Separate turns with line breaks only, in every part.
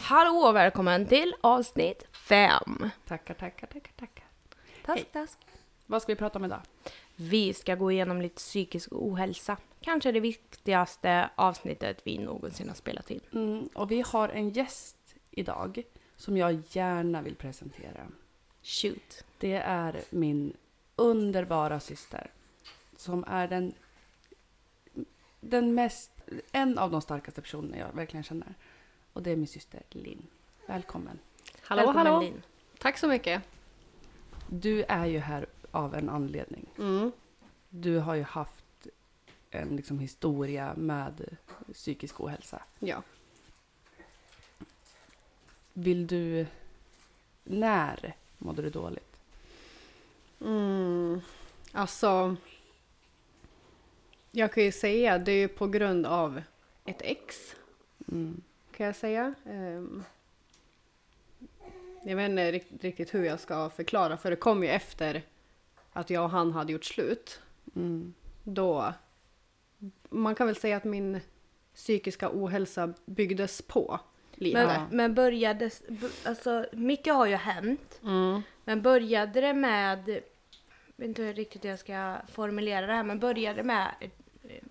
Hallå och välkommen till avsnitt fem.
Tackar, tackar, tackar, tackar.
Task,
Hej.
task.
Vad ska vi prata om idag?
Vi ska gå igenom lite psykisk ohälsa. Kanske det viktigaste avsnittet vi någonsin har spelat in.
Mm, och vi har en gäst idag som jag gärna vill presentera.
Shoot.
Det är min underbara syster som är den, den mest, en av de starkaste personerna jag verkligen känner. Och det är min syster Linn. Välkommen.
Hallå,
välkommen
hallå.
Linn.
Tack så mycket.
Du är ju här av en anledning.
Mm.
Du har ju haft en liksom, historia med psykisk ohälsa.
Ja.
Vill du... När mådde du dåligt?
Mm. Alltså, jag kan ju säga det är ju på grund av ett ex
Mm.
kan jag säga. Ehm, Jag vet inte rikt- riktigt hur jag ska förklara för det kom ju efter att jag och han hade gjort slut.
Mm.
Då, man kan väl säga att min psykiska ohälsa byggdes på lite.
Men,
Ja.
men började... b- Alltså, mycket har ju hänt.
Mm.
Men började det med... Jag vet inte hur riktigt jag ska formulera det här, men började det med eh,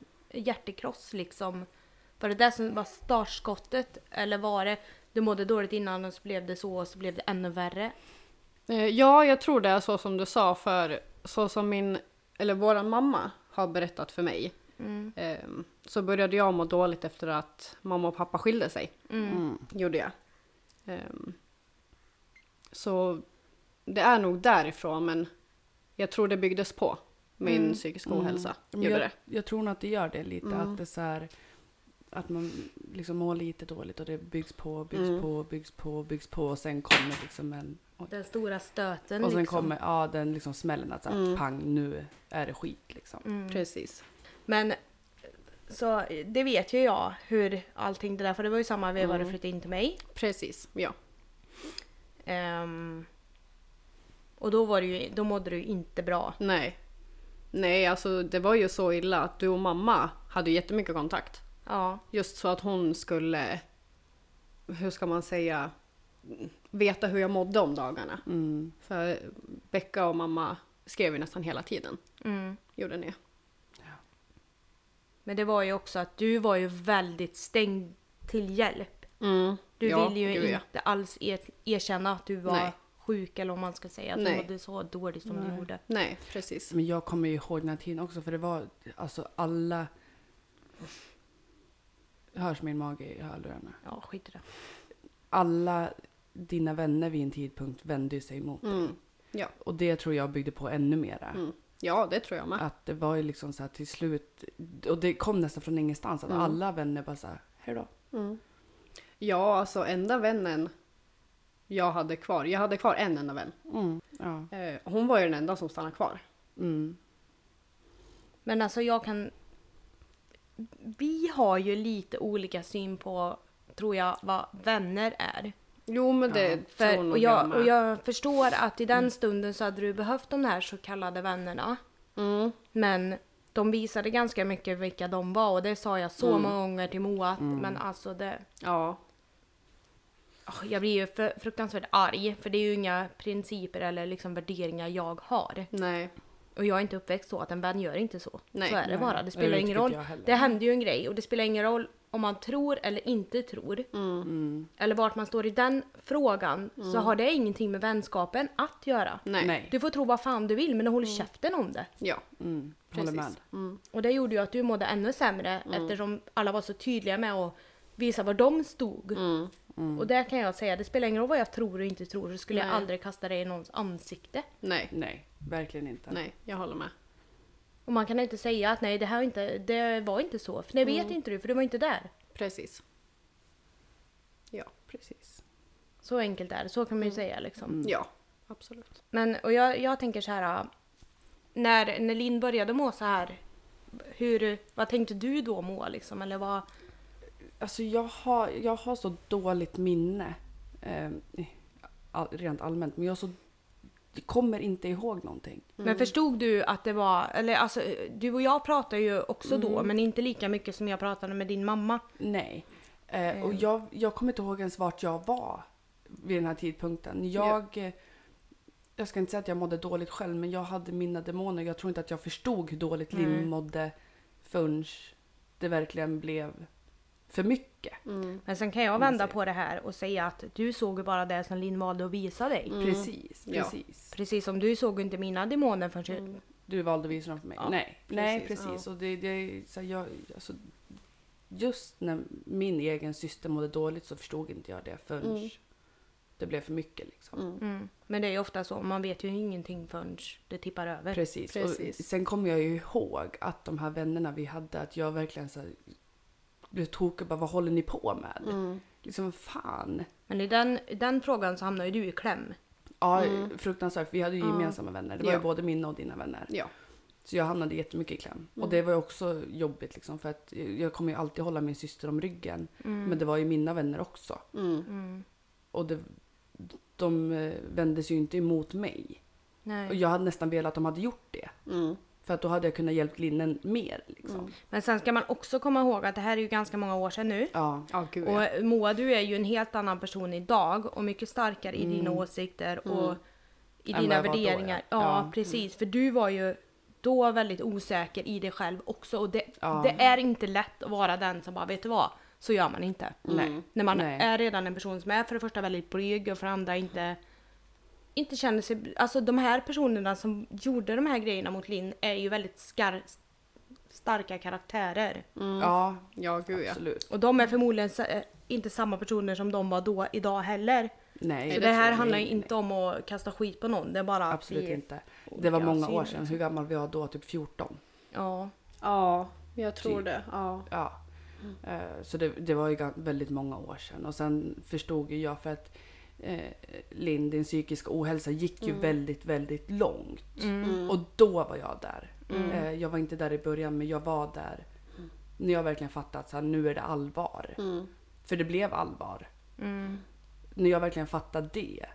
hjärtekross liksom? Var det det som var startskottet? Eller var det du mådde dåligt innan och så blev det så och så blev det ännu värre?
Eh, Ja, jag tror det är så som du sa, för så som min, eller våran mamma har berättat för mig,
Mm.
ehm, så började jag må dåligt efter att mamma och pappa skilde sig.
Mm.
Gjorde jag. Ehm, så det är nog därifrån, men jag tror det byggdes på. Min
Mm.
psykiska
Mm.
ohälsa
Men
gjorde
jag,
det.
jag tror nog att det gör det lite.
Mm.
Att det är så här, att man liksom mår lite dåligt och det byggs på, byggs
Mm.
på, byggs på, byggs på. Och sen kommer liksom en... Och,
Den stora stöten
och sen
liksom.
kommer ja, den liksom smällen att så här,
Mm.
pang, nu är det skit liksom.
Mm.
Precis.
Men så det vet ju jag hur allting det där, för det var ju samma veva du flyttade in till mig.
Precis, ja.
Ehm, och då var det ju, då mådde du ju inte bra.
Nej. Nej, alltså det var ju så illa att du och mamma hade ju jättemycket kontakt.
Ja.
Just så att hon skulle, hur ska man säga, veta hur jag mådde om dagarna.
Mm.
För Becka och mamma skrev ju nästan hela tiden,
Mm.
gjorde ni.
Men det var ju också att du var ju väldigt stängd till hjälp.
Mm.
Du
Ja,
ville ju
gud, ja.
inte alls er, erkänna att du var
Nej.
sjuk eller om man ska säga att du
Nej.
mådde så dåligt som du
Nej.
gjorde.
Nej, precis.
Men jag kommer ju ihåg den här tiden också för det var alltså alla... Hörs min mage i hörlurarna?
Ja, skit i det.
alla dina vänner vid en tidpunkt vände ju sig emot dig.
Mm. Ja.
Och det tror jag byggde på ännu mera.
Mm. ja, det tror jag med.
Att det var ju liksom så här till slut, och det kom nästan från ingenstans, att
Mm.
alla vänner bara så här, hejdå.
Mm. Ja, alltså enda vännen jag hade kvar, jag hade kvar en enda vän.
Mm. Ja.
Eh, Hon var ju den enda som stannade kvar.
Mm.
Men alltså jag kan... Vi har ju lite olika syn på, tror jag, vad vänner är.
Jo, men det
Ja.
tror
För,
nog Mm.
och,
jag
jag,
med.
och jag förstår att i den stunden så hade du behövt de här så kallade vännerna.
Mm.
Men de visade ganska mycket vilka de var och det sa jag
Mm.
så många gånger till Moa. att- Men alltså det...
Ja.
åh, Jag blir ju fr- fruktansvärt arg för det är ju inga principer eller liksom värderingar jag har.
Nej.
Och jag är inte uppväxt så att en vän gör inte så.
Nej,
så är det
nej.
bara.
Det
Det spelar
tycker
ingen
inte
roll.
jag heller.
Det hände ju en grej och det spelar ingen roll om man tror eller inte tror.
Mm.
Eller vart man står i den frågan så har det ingenting med vänskapen att göra.
Mm. Nej. Mm.
Nej.
Du får tro vad fan du vill men håll käften om det.
Ja,
Mm. Håller
precis.
med.
Mm.
Och det gjorde ju att du mådde ännu sämre eftersom alla var så tydliga med att visa var de stod.
Mm.
Och där kan jag säga, det spelar ingen roll vad jag tror och inte tror så skulle jag
Nej.
aldrig kasta det i någons ansikte.
Nej.
Nej, verkligen inte.
Nej, jag håller med.
Och man kan inte säga att nej det här är inte, det var inte så. För det vet inte du för du var inte där.
Precis. Ja, precis.
Så enkelt är det, så kan man ju säga liksom.
Ja, absolut.
Men och jag, jag tänker så här. äh, När, när Linn började må så här, hur, vad tänkte du då må liksom? Eller vad,
Alltså jag har, jag har så dåligt minne. Eh, all, rent allmänt. Men jag så, kommer inte ihåg någonting.
Men förstod du att det var, eller alltså du och jag pratade ju också då men inte lika mycket som jag pratade med din mamma.
Nej. Eh, och
Mm.
jag, jag kommer inte ihåg ens vart jag var vid den här tidpunkten. Jag, eh, jag ska inte säga att jag mådde dåligt själv, men jag hade mina demoner. Jag tror inte att jag förstod hur dåligt Linn
Nej.
mådde förrän det verkligen blev för mycket.
Mm.
Men sen kan jag
Om man
vända
säger.
på det här och säga att du såg ju bara det som Linn valde att visa dig.
Mm.
Precis,
Ja.
precis.
Precis som du såg ju inte mina demoner förrän
Mm.
Du valde visorna för mig.
Ja,
Nej, precis. Nej,
precis.
precis. Och det, det, är så här, jag, alltså, just när min egen syster mådde dåligt så förstod inte jag det förrän
Mm.
det blev för mycket. Liksom.
Mm.
Mm. Men det är ju ofta så, man vet ju ingenting förrän det tippar över.
Precis. Och
Precis.
sen kommer jag ju ihåg att de här vännerna vi hade, att jag verkligen så här, blev tokig och bara vad håller ni på med?
Mm.
Liksom fan.
Men i den, i den frågan så hamnar ju du i kläm.
Ja,
Mm.
fruktansvärt. Vi hade ju
Ja.
gemensamma vänner. Det var ju
Ja.
både mina och dina vänner.
Ja.
Så jag hamnade jättemycket i kläm.
Mm.
Och det var ju också jobbigt liksom för att jag kommer ju alltid hålla min syster om ryggen.
Mm.
Men det var ju mina vänner också.
Mm.
Mm.
Och det, de eh, vändes ju inte emot mig.
Nej.
Och jag hade nästan velat att de hade gjort det.
Mm.
För att då hade jag kunnat hjälpt Linnen mer liksom.
Mm.
Men sen ska man också komma ihåg att det här är ju ganska många år sedan nu.
Ja.
Ja, gud ja.
Och Moa, du är ju en helt annan person idag och mycket starkare i dina åsikter och i
Mm. Än
dina
vad jag var då,
värderingar. ja.
ja. Ja.
precis. För du var ju då väldigt osäker i dig själv också och det,
Ja.
det är inte lätt att vara den som bara, vet du vad? Så gör man inte.
Nej.
När man
Mm. Nej.
är redan en person som är för det första väldigt blyg och för det andra inte inte känner sig, alltså de här personerna som gjorde de här grejerna mot Linn är ju väldigt skar, starka karaktärer.
Ja,
Ja, gud Mm. ja.
absolut.
Och de är förmodligen sa- eh, inte samma personer som de var då idag heller.
Nej,
Så
det
det
tror
här
jag
handlar
nej,
ju inte om att kasta skit på någon. Det är bara att
Absolut
vi-
inte. Det var
olika
många år
syn,
sedan. Hur gammal vi var då? Typ 14?
Ja.
Ja, jag tror
Typ.
det. Ja.
Ja.
Mm.
Eh, Så det, det var ju ga- väldigt många år sedan. Och sen förstod ju jag för att eh, Linn, din psykiska ohälsa gick ju väldigt, väldigt långt.
Mm.
Och då var jag där. Eh, Jag var inte där i början, men jag var där när jag verkligen fattade att så här, nu är det allvar.
Mm.
För det blev allvar.
Mm.
när jag verkligen fattade det,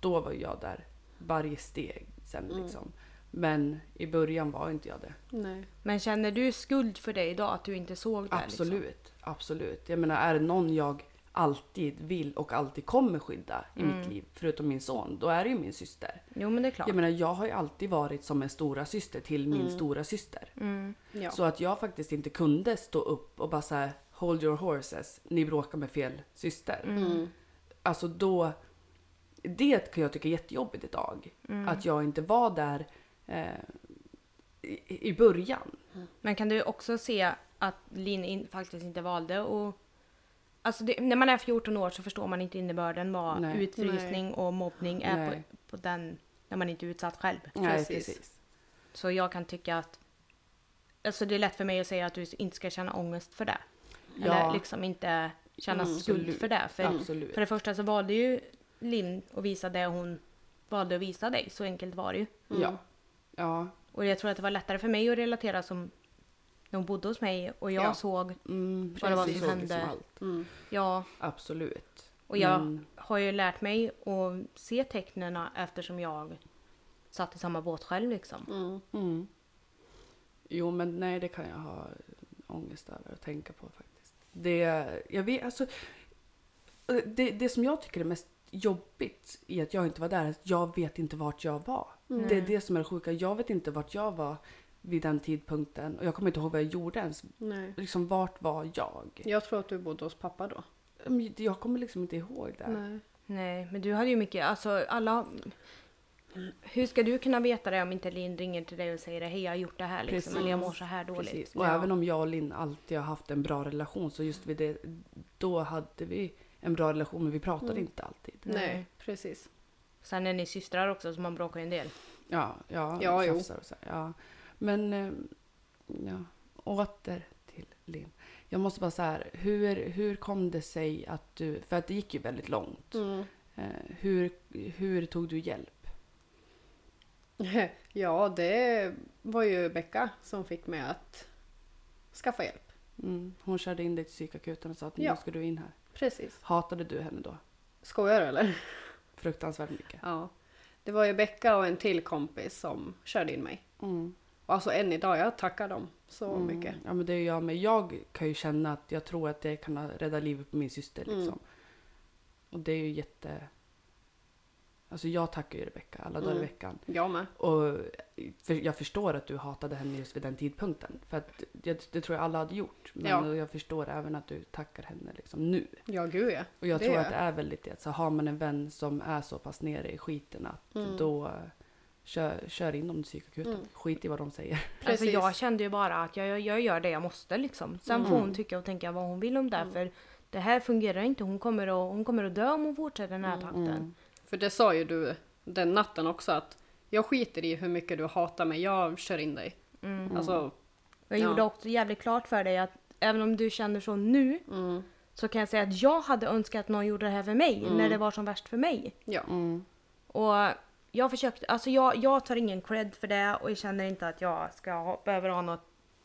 då var jag där varje steg sen
Mm.
liksom. Men i början var inte jag det.
Nej.
Men känner du skuld för det idag att du inte såg det? liksom?
absolut, absolut. Jag menar, är det någon jag alltid vill och alltid kommer skydda i
Mm.
mitt liv, förutom min son, då är det ju min syster.
Liksom? Jo men det är klart.
Jag menar, jag har ju alltid varit som en stora syster till min stora syster.
Mm.
Ja.
Så att jag faktiskt inte kunde stå upp och bara så här, hold your horses, ni bråkar med fel syster.
Mm.
alltså då, det kan jag tycka är jättejobbigt idag.
Mm.
Att jag inte var där eh, i, i början.
Men kan du också se att Linn in, faktiskt inte valde och Alltså det, när man är 14 år så förstår man inte innebörden vad
Nej.
utfrysning och mobbning är på,
Nej.
på den, när man inte är utsatt själv.
Nej,
Precis.
precis.
Så jag kan tycka att Alltså det är lätt för mig att säga att du inte ska känna ångest för det.
Ja.
Eller liksom inte känna
Mm,
skuld
absolut.
för det. För,
Absolut.
för det första så valde ju Linn att visa det hon valde att visa dig. Så enkelt var det ju.
Ja. ja.
Och jag tror att det var lättare för mig att relatera som när hon bodde hos mig och jag
Ja.
såg,
Mm,
Vad det var
precis.
som
Så
hände.
allt.
Mm.
ja,
Absolut.
och jag
Men-
har ju lärt mig att se tecknen eftersom jag satt i samma båt själv liksom.
Mm.
Mm. Jo, men nej, det kan jag ha ångest över att tänka på faktiskt. Det, jag vet, alltså, det, det som jag tycker är mest jobbigt i att jag inte var där, är att jag vet inte vart jag var.
Mm.
Det är det som är det sjuka. Jag vet inte vart jag var vid den tidpunkten och jag kommer inte ihåg vad jag gjorde ens.
Nej.
Liksom vart var jag?
Jag tror att du bodde hos pappa då.
Men Jag kommer liksom inte ihåg det.
Nej.
Nej, men du hade ju mycket, alltså alla... Hur ska du kunna veta det om inte Linn ringer till dig och säger hej jag har gjort det här liksom,
Precis.
eller jag mår så här dåligt.
Precis. Och även om jag och Linn alltid har haft en bra relation så just vid det, då hade vi en bra relation men vi pratade
Mm.
inte alltid.
Nej.
Nej, precis.
Sen är ni systrar också så man bråkar ju en del.
Ja, ja,
Ja, jo.
tjafsar och så. här, Ja. Men eh, ja, åter till Linn. Jag måste bara så här, hur, hur kom det sig att du, för att det gick ju väldigt långt.
Mm.
Eh, hur, hur tog du hjälp?
Ja, det var ju Becka som fick mig att skaffa hjälp.
Mm. Hon körde in dig till psykakuten och sa att
Ja.
nu ska du in här.
Precis.
Hatade du henne då?
Skojar du eller?
Fruktansvärt mycket.
Ja. Det var ju Becka och en till kompis som körde in mig.
Mm.
Och alltså än idag, jag tackar dem så
Mm.
mycket.
Ja men det är jag med. Jag kan ju känna att jag tror att jag kan ha räddat livet på min syster
Mm.
liksom. Och det är ju jätte... Alltså jag tackar ju Rebecka alla dagar i
Mm.
veckan.
Jag med.
Och för jag förstår att du hatade henne just vid den tidpunkten. För att det, det tror jag alla hade gjort. Men
Ja.
jag förstår även att du tackar henne liksom nu.
Ja, gud ja.
Och jag
Det
tror
gör
att det är väldigt det. Så har man en vän som är så pass nere i skiten att
Mm.
då eh, kör, kör in dem till psykakuten.
Mm.
Skit i vad de säger.
Alltså
Precis.
jag kände ju bara att jag, jag, jag gör det jag måste liksom. Sen får
Mm.
hon tycka och tänka vad hon vill om det
Mm.
här, för det här fungerar inte. Hon kommer att, hon kommer att dö om hon fortsätter den här
Mm.
takten.
För det sa ju du den natten också att jag skiter i hur mycket du hatar mig, jag kör in dig.
Mm.
Alltså,
Jag
Ja.
gjorde också jävligt klart för dig att även om du känner så nu
mm,
så kan jag säga att jag hade önskat att någon gjorde det här för mig
Mm.
när det var som värst för mig.
ja.
Mm.
Och jag försökte, alltså jag, jag tar ingen cred för det och jag känner inte att jag ska ha, behöver ha något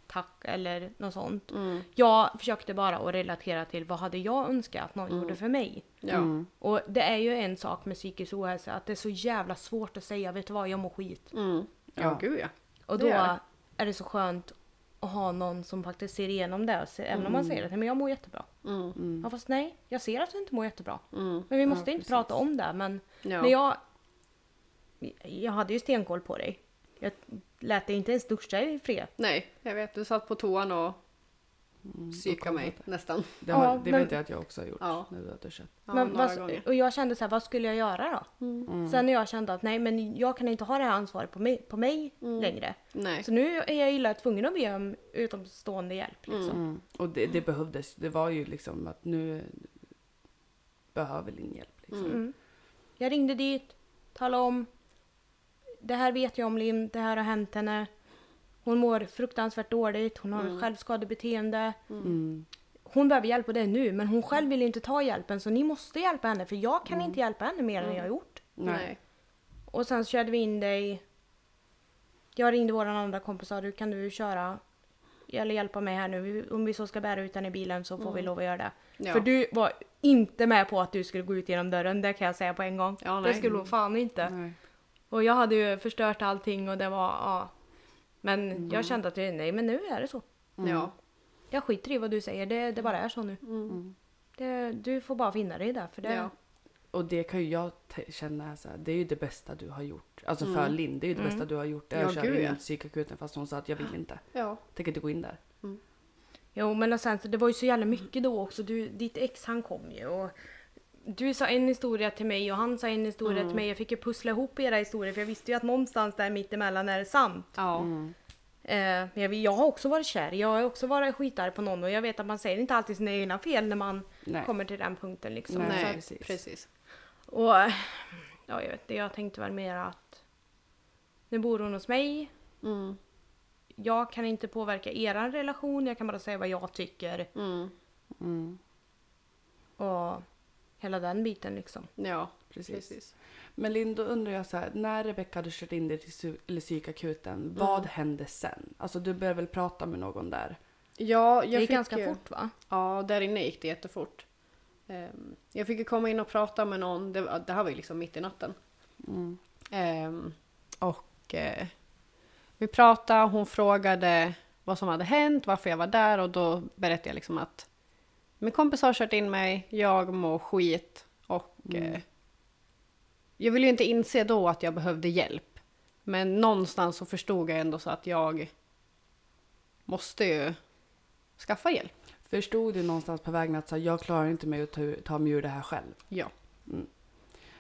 tack eller något sånt.
Mm,
Jag försökte bara att relatera till vad hade jag önskat att någon
Mm.
gjorde för mig.
ja. Mm.
Mm.
Och det är ju en sak med psykisk ohälsa att det är så jävla svårt att säga vet du vad jag mår skit.
Mm. Ja,
Ja.
gud ja.
Och
Det
då
är det.
är det så skönt att ha någon som faktiskt ser igenom det. Och ser, Även om man säger att "Nej, men jag mår jättebra.
Mm,
Ja fast nej, jag ser att du inte mår jättebra.
mm,
Men vi måste
Ja,
inte
precis.
prata om det. Men
ja.
när jag... Jag hade ju stenkoll på dig. Jag lät dig inte ens duscha i fred.
Nej, jag vet. Du satt på toan
Mm,
och psykade
kom
mig nästan.
Det,
Ja,
har, det
men-
vet jag att jag också har gjort.
Ja.
När du har duschat.
Ja,
men
några
vad-
gånger. Mm.
och jag kände så här, vad skulle jag göra då? Sen när jag kände att nej, men jag kan inte ha det här ansvaret på mig, på mig längre.
Mm. Nej.
Så nu är jag illa tvungen att be om utomstående hjälp. Liksom.
Mm. Och det, det behövdes. Det var ju liksom att nu behöver Linn hjälp. Liksom.
Mm. Jag ringde dit, talade om. Det här vet jag om Lim, det här har hänt henne. Hon mår fruktansvärt dåligt, hon har ett självskadebeteende.
Mm.
Hon behöver hjälp och det nu, men hon själv vill inte ta hjälpen så ni måste hjälpa henne för jag kan inte hjälpa henne mer än jag har gjort.
Nej.
Och sen så körde vi in dig. Jag ringde våran andra kompis och sa du kan du köra eller hjälpa mig här nu. Vi- Om vi så ska bära ut den i bilen så får vi lov att göra det.
Ja.
För du var inte med på att du skulle gå ut genom dörren, det kan jag säga på en gång.
Ja,
det
nej.
skulle hon fan inte.
Nej.
Och jag hade ju förstört allting och det var, ja. Men
Mm.
jag kände att nej men nu är det så.
Ja.
Jag skiter i vad du säger, det, det bara är så nu. Det, du får bara finna dig i det. Mm. För det
Mm. Ja.
Och det kan ju jag te- känna så här, det är ju det bästa du har gjort. Alltså för Linn, det är ju det bästa du har gjort. Jag
Mm. Ja,
kör
gud,
in
ja.
ja. psykakuten fast hon sa att jag vill inte.
Ja.
Tänker inte gå in där.
Jo men och sen så det var ju så jävla mycket då också. Du, ditt ex han kom ju och du sa en historia till mig och han sa en historia
Mm.
till mig. Jag fick ju pussla ihop era historier för jag visste ju att någonstans där mittemellan är det sant.
Ja.
Eh, men jag, vet- jag har också varit kär, jag har också varit skitarg på någon och jag vet att man säger inte alltid sina egna fel när man
Nej.
kommer till den punkten liksom.
Nej,
Nej,
precis.
precis.
Och eh, ja, jag vet inte, jag tänkte väl mer att nu bor hon hos mig.
Mm.
Jag kan inte påverka er relation, jag kan bara säga vad jag tycker
Mm.
Mm,
och hela den biten liksom.
Ja,
precis.
precis.
Men Linn, då undrar jag så här, när Rebecca hade kört in dig till psy- eller psykakuten,
Mm.
vad hände sen? Alltså du började väl prata med någon där?
Ja,
det gick
jag fick
ganska
ju-
fort va?
Ja, där inne gick det jättefort. Ehm, Jag fick ju komma in och prata med någon. Det, var- det här var ju liksom mitt i natten. Mm. Ehm, Och eh, vi pratade, hon frågade vad som hade hänt, varför jag var där och då berättade jag liksom att min kompis har kört in mig, jag mår skit och
Mm.
eh, jag ville ju inte inse då att jag behövde hjälp. Men någonstans så förstod jag ändå så att jag måste ju skaffa hjälp.
Förstod du någonstans på vägen att så här, jag klarar inte mig att ta, ta mig ur det här själv?
Ja.
Mm.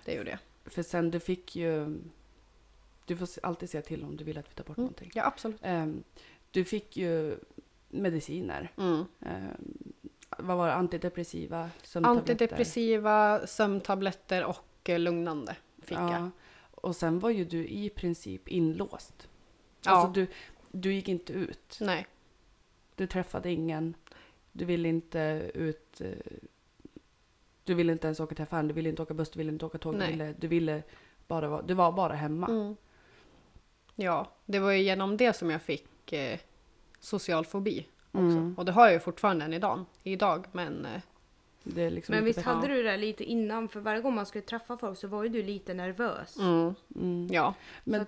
Det gjorde jag.
För sen du fick ju... Du får alltid säga till om du vill att vi tar bort någonting.
Ja, absolut.
Ehm, Du fick ju mediciner.
Mm.
Ehm, Vad var det? Antidepressiva? sömntabletter.
Antidepressiva, sömntabletter och eh, lugnande fick jag.
Ja. Och sen var ju du i princip inlåst.
Ja.
Alltså du, du gick inte ut.
Nej.
Du träffade ingen. Du ville inte ut. eh, Du ville inte ens åka till affären. Du ville inte åka buss. Du ville inte åka tåg. Du
Nej.
ville, du ville bara vara, du var bara hemma.
Mm. Ja, det var ju genom det som jag fick eh, social fobi också.
Mm.
Och det har jag ju fortfarande än idag, idag men eh,
Det är liksom
Men
inte
visst
bättre.
hade du det lite innan för varje gång man skulle träffa folk så var ju du lite nervös.
mm,
Mm.
ja.
Men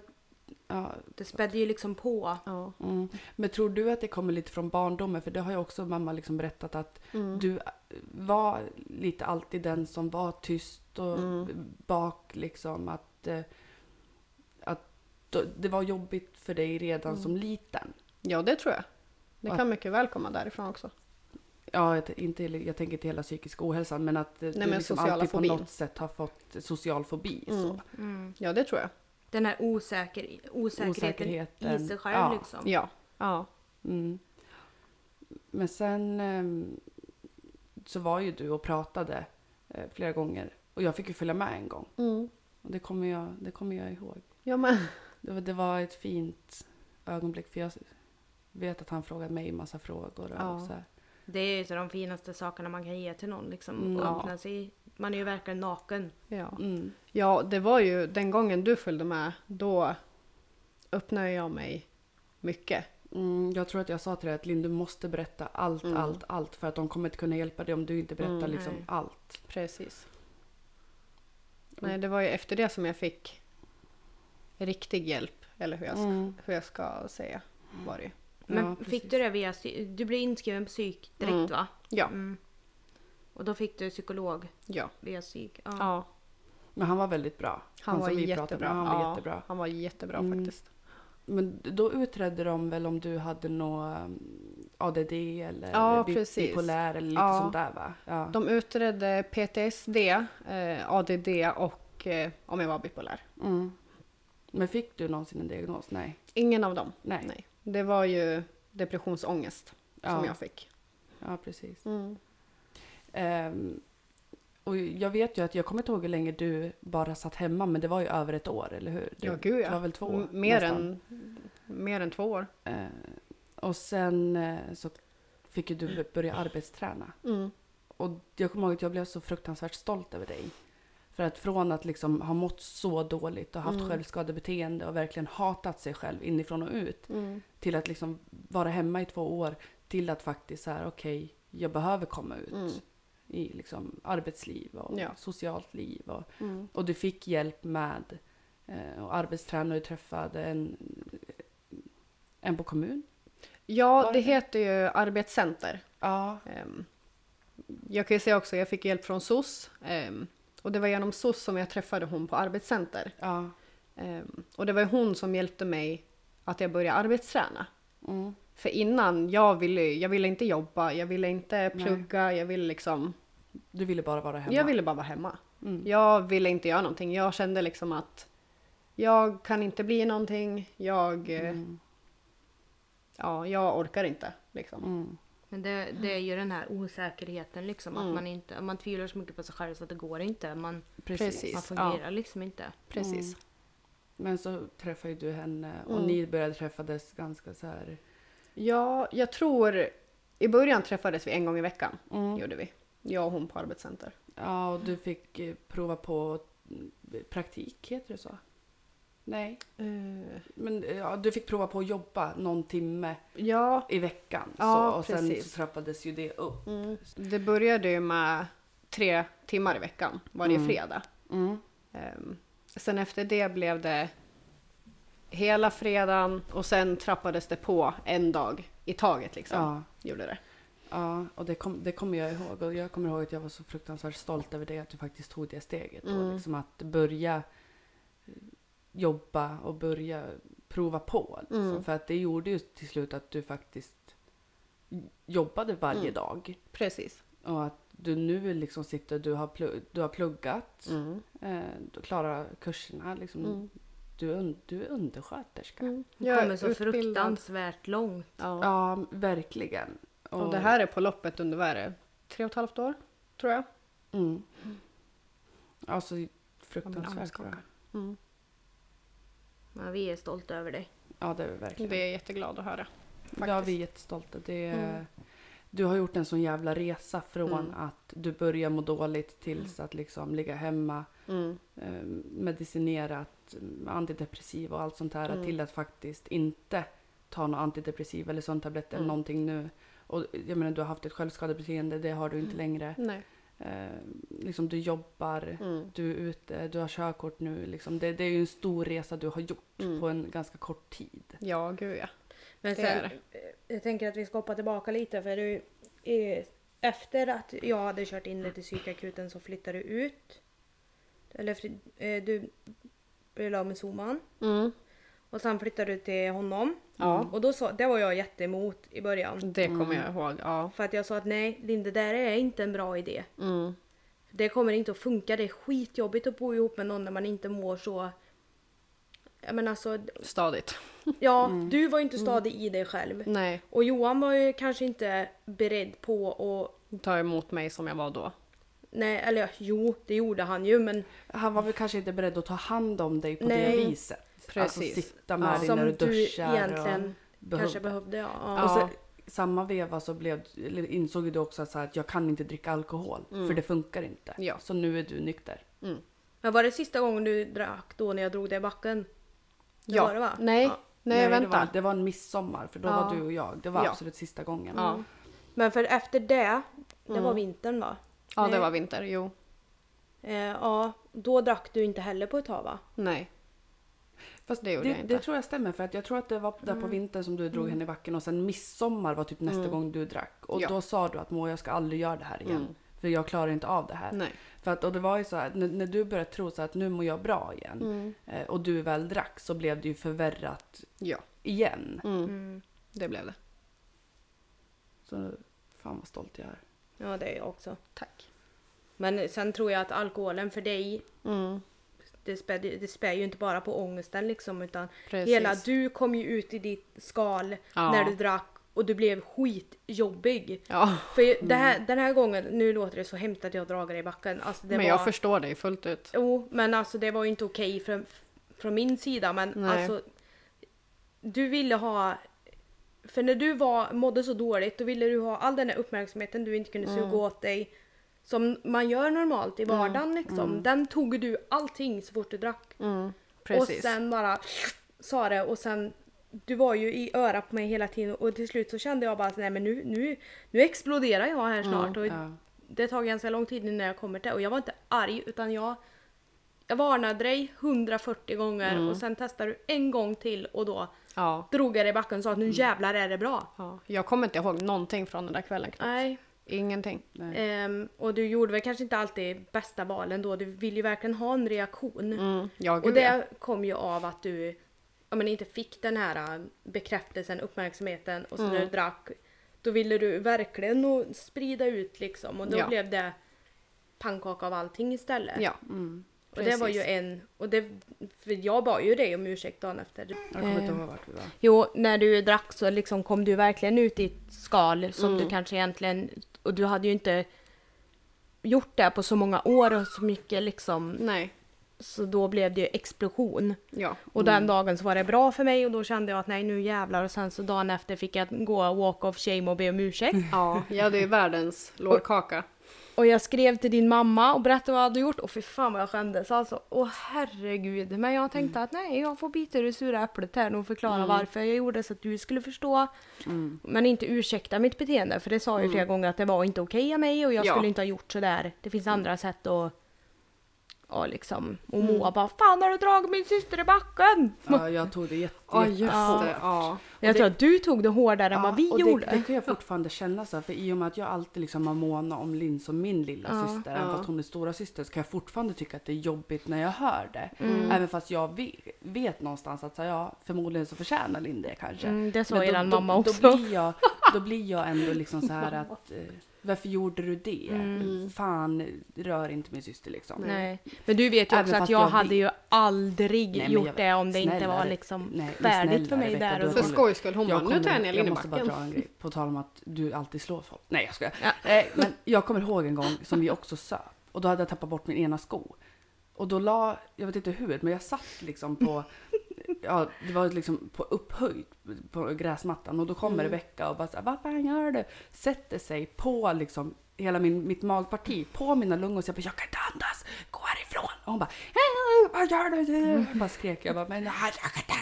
Ja,
Det spädde ju liksom på.
Ja.
mm. Men tror du att det kommer lite från barndomen? För det har ju också mamma liksom berättat att
Mm.
du var lite alltid den som var tyst och
Mm.
bak liksom att, eh, att då- det var jobbigt för dig redan
Mm.
som liten.
ja, det tror jag. Det
Va?
kan mycket väl komma därifrån också.
Ja, jag t- inte, jag tänker inte hela psykisk ohälsan men att eh, du
men
liksom
sociala
alltid
fobin.
på något sätt har fått social fobi.
Mm.
Så.
Mm.
Ja, det tror jag.
Den här osäker, osäkerheten, i sig själv
ja.
liksom.
Ja. ja.
Mm. Men sen ehm, så var ju du och pratade eh, flera gånger och jag fick ju följa med en gång.
Mm.
Och det kommer jag, det kommer jag ihåg.
Ja, men.
Det var, det var ett fint ögonblick för jag vet att han frågade mig massa frågor. Och
Ja.
så här.
Det är ju så de finaste sakerna man kan ge till någon liksom.
Mm.
Och
Ja.
öppna sig. Man är ju verkligen naken.
Ja.
Mm.
ja, det var ju den gången du följde med, då öppnade jag mig mycket.
Mm, jag tror att jag sa till dig att Linn du måste berätta allt,
Mm.
allt, allt för att de kommer inte kunna hjälpa dig om du inte berättar
Mm,
liksom
nej.
allt.
Precis.
Mm.
Nej, det var ju efter det som jag fick riktig hjälp, eller hur jag,
Mm.
hur jag ska säga var det ju.
Men
Ja,
fick
precis.
du det via... psy- Du blev inskriven på psyk direkt
Mm.
va?
Ja,
Mm. Och då fick du psykolog
ja.
via psyk. Ja.
ja.
Men han var väldigt bra.
Han, var
som vi
jättebra.
pratade med, han var
ja,
jättebra.
Han var jättebra
Mm.
faktiskt.
Men då utredde de väl om du hade något um, ADD eller
Ja,
bi-
precis.
bipolär eller lite
Ja.
sånt där va? Ja.
De utredde PTSD, eh, ADD och eh, om jag var bipolär.
Mm. Men fick du någonsin en diagnos? Nej.
Ingen av dem.
Nej.
Nej. Det var ju depressionsångest som
Ja.
jag fick.
ja, precis.
Mm.
Ehm, och jag vet ju att jag kommer inte ihåg hur länge du bara satt hemma, men det var ju över ett år, eller hur? Det,
Ja, gud ja.
det var väl två?
M- mer,
nästan.
än, mer än två år.
Ehm, och sen eh, så fick ju du börja arbetsträna.
Mm.
Och jag kommer ihåg att jag blev så fruktansvärt stolt över dig. För att från att liksom ha mått så dåligt och haft
Mm.
självskadebeteende och verkligen hatat sig själv inifrån och ut.
Mm.
Till att liksom vara hemma i två år. Till att faktiskt så här, okej, jag behöver komma ut.
Mm.
I liksom arbetsliv och
Ja.
socialt liv. Och,
Mm.
och du fick hjälp med eh, och arbetstränare. Du träffade en, en på kommun.
Ja,
Var
det
det?
heter ju arbetscenter.
Ja.
Ehm, Jag kan ju säga också, jag fick hjälp från SOS. ehm, Och det var genom SOS som jag träffade hon på arbetscenter.
Ja.
Ehm, Och det var ju hon som hjälpte mig att jag började arbetsträna.
Mm.
För innan, jag ville, jag ville inte jobba, jag ville inte
Nej.
plugga, jag ville liksom...
Du ville bara vara hemma.
Jag ville bara vara hemma.
Mm.
Jag ville inte göra någonting. Jag kände liksom att jag kan inte bli någonting, jag... eh,
Mm.
Ja, jag orkar inte liksom.
Mm.
Men det, det är ju den här osäkerheten liksom.
Mm.
Att man, inte, man tvivlar så mycket på sig själv så att det går inte. Man,
Precis.
man
ja.
fungerar liksom inte.
Precis.
Men så träffade ju du henne och
Mm.
ni började träffades ganska så här.
Ja, jag tror... I början träffades vi en gång i veckan,
Jo.
gjorde vi. Jag och hon på arbetscenter.
Ja, och du fick eh, prova på mm, praktik, heter det så? Nej,
Eh,
men eh, ja, du fick prova på att jobba någon timme
ja,
i veckan.
Ja,
så, och sen
precis.
så trappades ju det upp.
mm. det började ju med tre timmar i veckan varje
Mm.
fredag. Ehm, sen efter det blev det hela fredagen och sen trappades det på en dag i taget liksom.
Ja,
Gjorde det.
ja, och det, kom, det kommer jag ihåg. Och jag kommer ihåg att jag var så fruktansvärt stolt över det, att du faktiskt tog det steget.
Mm.
Och liksom att börja eh, jobba och börja prova på. Liksom.
Mm.
För att det gjorde ju till slut att du faktiskt jobbade varje
Mm.
dag.
Precis.
Och att du nu liksom sitter, du har, plu- du har pluggat, eh, du klarar kurserna. Liksom.
Mm.
Du, är un- du är undersköterska.
Man
Jag är
kommer så
utbildad.
fruktansvärt långt.
Ja.
Ja, verkligen.
Och det här är på loppet under vad är det? Tre och ett halvt år, tror jag.
Mm. Alltså fruktansvärt
armskaka.
bra.
Mm.
Ja, vi är stolta över dig.
Ja, det är vi verkligen.
Det är jag jätteglad att höra.
Det har vi
faktiskt.
jättestolt det
Mm.
Du har gjort en sån jävla resa från
Mm.
att du börjar må dåligt tills att liksom ligga hemma
Mm.
eh, medicinerat, eh, antidepressiva och allt sånt här
Mm.
till att faktiskt inte ta någon antidepressiv eller sån tablett eller
Mm. Mm.
någonting nu. Och jag menar du har haft ett självskadebeteende, det har du inte längre.
Nej.
Eh, liksom du jobbar,
Mm.
du är ute, du har körkort nu. Liksom. Det, det är ju en stor resa du har gjort
Mm.
på en ganska kort tid.
Ja, gud ja.
Men
Det
sen,
är
jag tänker att vi ska hoppa tillbaka lite för du, eh, efter att jag hade kört in dig till psykakuten så flyttade du ut. Eller fri- eh, du blev av med Soman
Mm.
och sen flyttade du till honom.
Ja,
Och då sa, det var jag jätteemot i början.
det kommer jag ihåg. Ja.
För att jag sa att nej, Linde, det där är inte en bra idé.
Mm.
Det kommer inte att funka, det är skitjobbigt att bo ihop med någon när man inte mår så... Jag menar så,
Stadigt.
ja,
Mm.
du var ju inte stadig i dig själv.
Nej,
Och Johan var ju kanske inte beredd på att...
ta emot mig som jag var då.
Nej, eller ja, jo, det gjorde han ju men
Han var väl kanske inte beredd att ta hand om dig på
Nej.
det viset.
Precis.
Alltså sitta med dig
som
när du
du
duschar.
egentligen
och
kanske
behöver.
behövde. Ja, ja.
Och
Ja.
sen, samma veva så blev, eller insåg ju du också att, så här, att jag kan inte dricka alkohol för det funkar inte.
Ja.
Så nu är du nykter.
Men var det sista gången du drack då när jag drog dig i backen? Det var det va?
Nej,
Ja.
nej,
Det
vänta.
var, det var en midsommar för då
Ja.
var du och jag. Det var
Ja.
absolut sista gången.
Ja.
Mm. Men för efter det, det var vintern va?
ja, det
Nej.
var vinter. Jo,
Eh, ja, då drack du inte heller på ett tag va?
nej. Fast det gjorde jag
Det,
inte. Mm.
det tror jag stämmer för att jag tror att det var där på vintern som du drog henne i backen och sen midsommar var typ nästa gång du drack. Och
Ja.
då sa du att Moa jag ska aldrig göra det här igen.
Mm.
För jag klarar inte av det här.
Nej.
För att, och det var ju så här, när, när du började tro så här att nu mår jag bra igen.
Mm.
Mm.
eh, Och du väl drack så blev det ju förvärrat
Ja,
igen.
Mm.
Mm.
Mm.
det blev det.
Så fan vad stolt jag är.
Ja, det är jag också.
Tack.
Men sen tror jag att alkoholen för dig,
Mm.
det spär, det spär ju inte bara på ångesten liksom utan
Precis.
hela du kom ju ut i ditt skal
Ja.
när du drack och du blev skitjobbig.
Ja,
För det här, den här gången, nu låter det så hemskt att jag drar dig i backen. Alltså det
Mm. men
var,
jag förstår dig fullt ut.
Jo, men alltså det var ju inte okej från, från min sida men
Nej.
alltså du ville ha för när du var, mådde så dåligt då ville du ha all den där uppmärksamheten du inte kunde
Mm.
suga åt dig som man gör normalt i vardagen liksom. Den tog du allting så fort du drack.
Mm. Precis.
Och sen bara sa det och sen du var ju i öra på mig hela tiden och till slut så kände jag bara att nej men nu, nu, nu exploderar jag
Mm.
här snart. och
Ja.
Det tar ganska lång tid innan jag kommer till och jag var inte arg utan jag jag varnade dig 140 gånger
Mm.
och sen testade du en gång till och då
ja.
drog jag dig i backen och sa att
Mm.
nu jävlar är det bra.
ja. Jag kommer inte ihåg någonting från den där kvällen.
Nej.
Ingenting.
Nej.
Ehm, och du gjorde väl kanske inte alltid bästa valen då. Du ville ju verkligen ha en reaktion.
Mm. Ja, gud,
Och
ja.
det kom ju av att du ja, men inte fick den här äh, bekräftelsen, uppmärksamheten och sen när
Mm.
du drack då ville du verkligen nog sprida ut liksom och då
Ja.
blev det pannkaka av allting istället.
Ja,
Mm.
och det var ju
precis.
en, och det, för jag bad ju dig om ursäkt dagen efter.
Jag kommer
Eh.
inte ihåg vart vi var.
Jo, när du drack så liksom kom du verkligen ut i ett skal som
Mm.
du kanske egentligen, och du hade ju inte gjort det på så många år och så mycket liksom,
nej.
så då blev det ju explosion.
Ja.
Och
Mm.
den dagen så var det bra för mig och då kände jag att nej nu jävlar och sen så dagen efter fick jag gå walk of shame och be om ursäkt.
Ja, jag hade ju världens lårkaka.
Och jag skrev till din mamma och berättade vad jag hade gjort och fy fan vad jag skämdes alltså. Åh herregud. Men jag
Mm.
tänkte att nej jag får bita i det sura äpplet här nu och förklara varför jag gjorde så att du skulle förstå.
Mm.
Men inte ursäkta mitt beteende för det sa jag ju flera gånger att det var inte okej av mig och jag
Ja.
skulle inte ha gjort sådär. Det
Mm.
finns andra sätt att Ja liksom. Och Moa bara Fan har du dragit min syster i backen?
Ja, jag tog det jätte, jätte
det. Typ. Ja.
Jag tror att du tog det hårdare än vad vi
och
gjorde.
Det, det kan jag fortfarande känna så här, för i och med att jag alltid liksom har månat om Linn som min lilla syster, även fast hon är stora syster, så kan jag fortfarande tycka att det är jobbigt när jag hör det.
Mm.
Även fast jag vet, vet någonstans att så här, ja, förmodligen så förtjänar Linn det kanske.
Mm, det sa
Men då-
eran
då-
mamma
Då
också.
blir, jag, då blir jag ändå liksom så här att eh, varför gjorde du det? Fan, rör inte min syster liksom.
Mm. Nej. Men du vet ju
Även
också att
fast
jag,
jag
hade
vill-
ju aldrig
Nej, men
gjort
jag-
det om det inte
snälla
var
Re-
liksom
nej, men
färdigt för
snälla,
mig
Rebecca,
där
du
och
har
För
då.
kommit-
skojs skull, hon
Jag,
bara, nu tar jag
kommer,
ner
jag
Linn i
måste bara
backen.
dra en grej, på tal om att du alltid slår folk. Nej jag skojar.
Ja.
Nej, men jag kommer ihåg en gång som vi också söp och då hade jag tappat bort min ena sko. Och då la, jag vet inte hur, men jag satt liksom på, ja det var liksom på upphöjt på gräsmattan och då
Mm.
kommer Rebecka och bara så här, vad fan gör du? Sätter sig på liksom hela min, mitt magparti, på mina lungor så jag bara, jag kan inte andas, gå härifrån! Och hon bara, "Eh, vad gör du?
Mm.
Jag bara skrek, jag bara, men jag kan inte andas!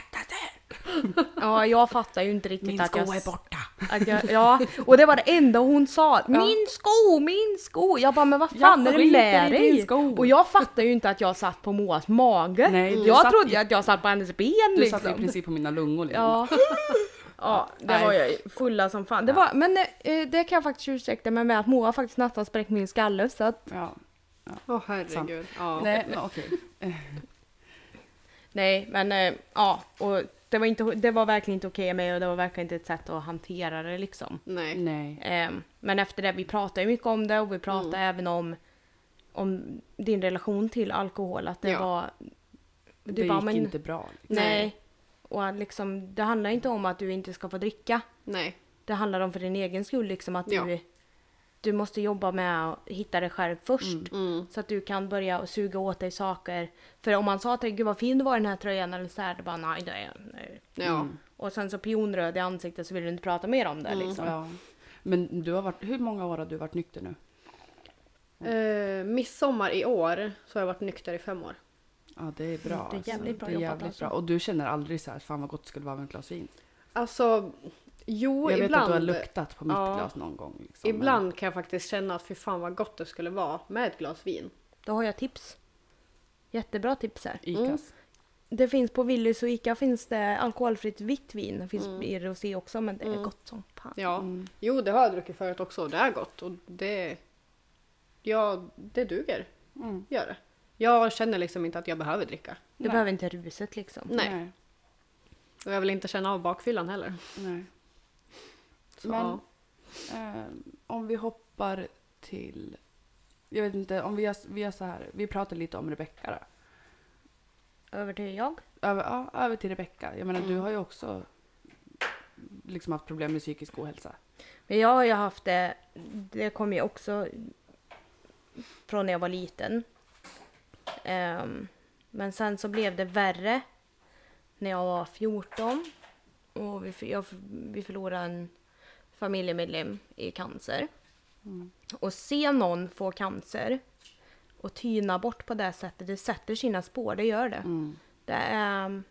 Ja, jag fattar ju inte riktigt
Min
att
sko
jag...
är borta!
Att jag, ja, och det var det enda hon sa. Min sko, min sko! Jag bara, men vad fan är det med
skiter i din
dig?
sko.
Och jag fattade ju inte att jag satt på Moas mage.
Nej, du
jag
satt
trodde
i-
ju att jag satt på hennes ben
Du
liksom.
satt i princip på mina lungor. Linn.
Ja. Ja, det
Nej.
var jag ju fulla som fan. Det
Ja.
var, men eh, det kan jag faktiskt ursäkta mig med att Moa faktiskt nästan spräckt min skalle så att
ja.
Åh herregud. Ja.
Nej, men eh, okej.
Nej, men eh, ja, och det var, inte, det var verkligen inte okej med och det var verkligen inte ett sätt att hantera det liksom.
Nej.
Nej.
Ehm, men efter det, vi pratade ju mycket om det och vi pratade även om, om din relation till alkohol, att det
Ja.
var...
Det,
Du bara,
gick
men,
inte bra.
Nej. Och att liksom, det handlar inte om att du inte ska få dricka.
Nej.
Det handlar om för din egen skull liksom att
Ja.
du, du måste jobba med att hitta dig själv först.
Mm.
Så att du kan börja och suga åt dig saker. För om man sa till dig, gud vad fin du var i den här tröjan eller så här, det bara nej, nej, nej.
Ja.
Mm,
Och sen så pionröd i ansiktet så vill du inte prata mer om det liksom.
Ja. Men du har varit, hur många år har du varit nykter nu? Mm.
Eh, midsommar i år så har jag varit nykter i fem år.
Ja, det är bra.
Det är jävligt bra
det är
jobbat,
jävligt
alltså.
bra. Och du känner aldrig så här, fan vad gott det skulle vara med ett glas vin?
Alltså, jo
jag vet
ibland.
att du har luktat på mitt
Ja.
glas någon gång. Liksom, men-
Ibland kan jag faktiskt känna att fy fan vad gott det skulle vara med ett glas vin.
Då har jag tips. Jättebra tips här.
Icas.
Det finns på Willys och Ica finns det alkoholfritt vitt vin. Det finns i rosé också men det är gott som fan.
Ja. Mm.
Mm.
Jo, det har jag druckit förut också och det är gott. Och det... Ja, det duger.
Mm.
Gör det. Jag känner liksom inte att jag behöver dricka.
Du
Nej.
behöver inte ruset liksom.
Nej.
Nej.
Och jag vill inte känna av bakfyllan heller.
Nej.
Så,
Men
ja.
eh, om vi hoppar till... Jag vet inte, om vi gör, vi gör så här. Vi pratar lite om Rebecka då.
Över till jag.
Över, ja, över till Rebecka. Jag menar,
Mm.
du har ju också liksom haft problem med psykisk ohälsa.
Men jag har ju haft det, det kom ju också från när jag var liten. Ehm, men sen så blev det värre när jag var 14. Och vi, för- jag, vi förlorade en familjemedlem i cancer. Och se någon få cancer och tyna bort på det sättet, det sätter sina spår, det gör det.
Mm.
det är,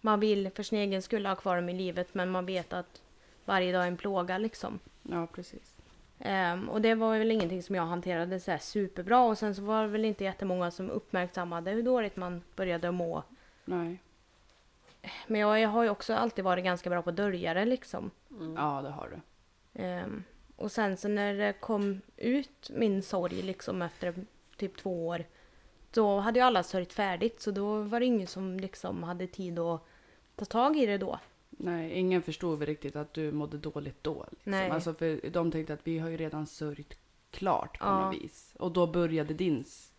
man vill för sin egen skull ha kvar dem i livet men man vet att varje dag är en plåga liksom.
Ja, precis.
Ehm, och det var väl ingenting som jag hanterade så här superbra och sen så var det väl inte jättemånga som uppmärksammade hur dåligt man började må.
Nej.
Men jag, jag har ju också alltid varit ganska bra på att dölja det liksom.
Mm.
Ja, det har du.
Ehm, och sen så när det kom ut min sorg liksom efter typ två år. Då hade ju alla sörjt färdigt så då var det ingen som liksom hade tid att ta tag i det då.
Nej, ingen förstod väl riktigt att du mådde dåligt då. Liksom.
Nej.
Alltså, för de tänkte att vi har ju redan sörjt klart på
Ja.
något vis. Och då började din, s-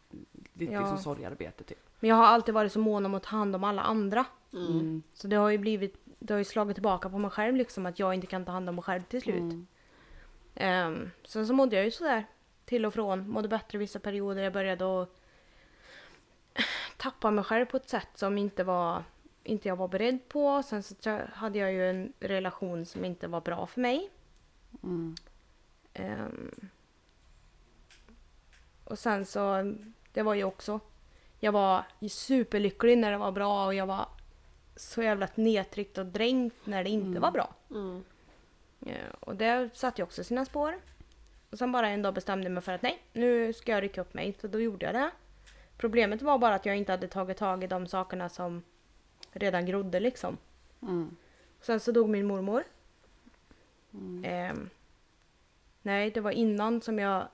ditt
Ja.
liksom, sorgarbete typ.
Men jag har alltid varit så mån om att ta hand om alla andra.
Mm.
Så det har ju blivit, det har ju slagit tillbaka på mig själv liksom att jag inte kan ta hand om mig själv till slut.
Mm.
Ehm, sen så mådde jag ju sådär till och från, mådde bättre vissa perioder. Jag började att tappa mig själv på ett sätt som inte var inte jag var beredd på. Sen så tra- hade jag ju en relation som inte var bra för mig.
Mm.
Ehm, och sen så, det var ju också, jag var ju superlycklig när det var bra och jag var så jävla nedtryckt och dränkt när det inte var bra.
Mm.
Eh, Och det satte ju också sina spår. Och sen bara en dag bestämde jag mig för att nej, nu ska jag rycka upp mig. Så då gjorde jag det. Problemet var bara att jag inte hade tagit tag i de sakerna som redan grodde liksom.
Mm.
Sen så dog min mormor.
Mm.
Ehm, nej, det var innan som jag...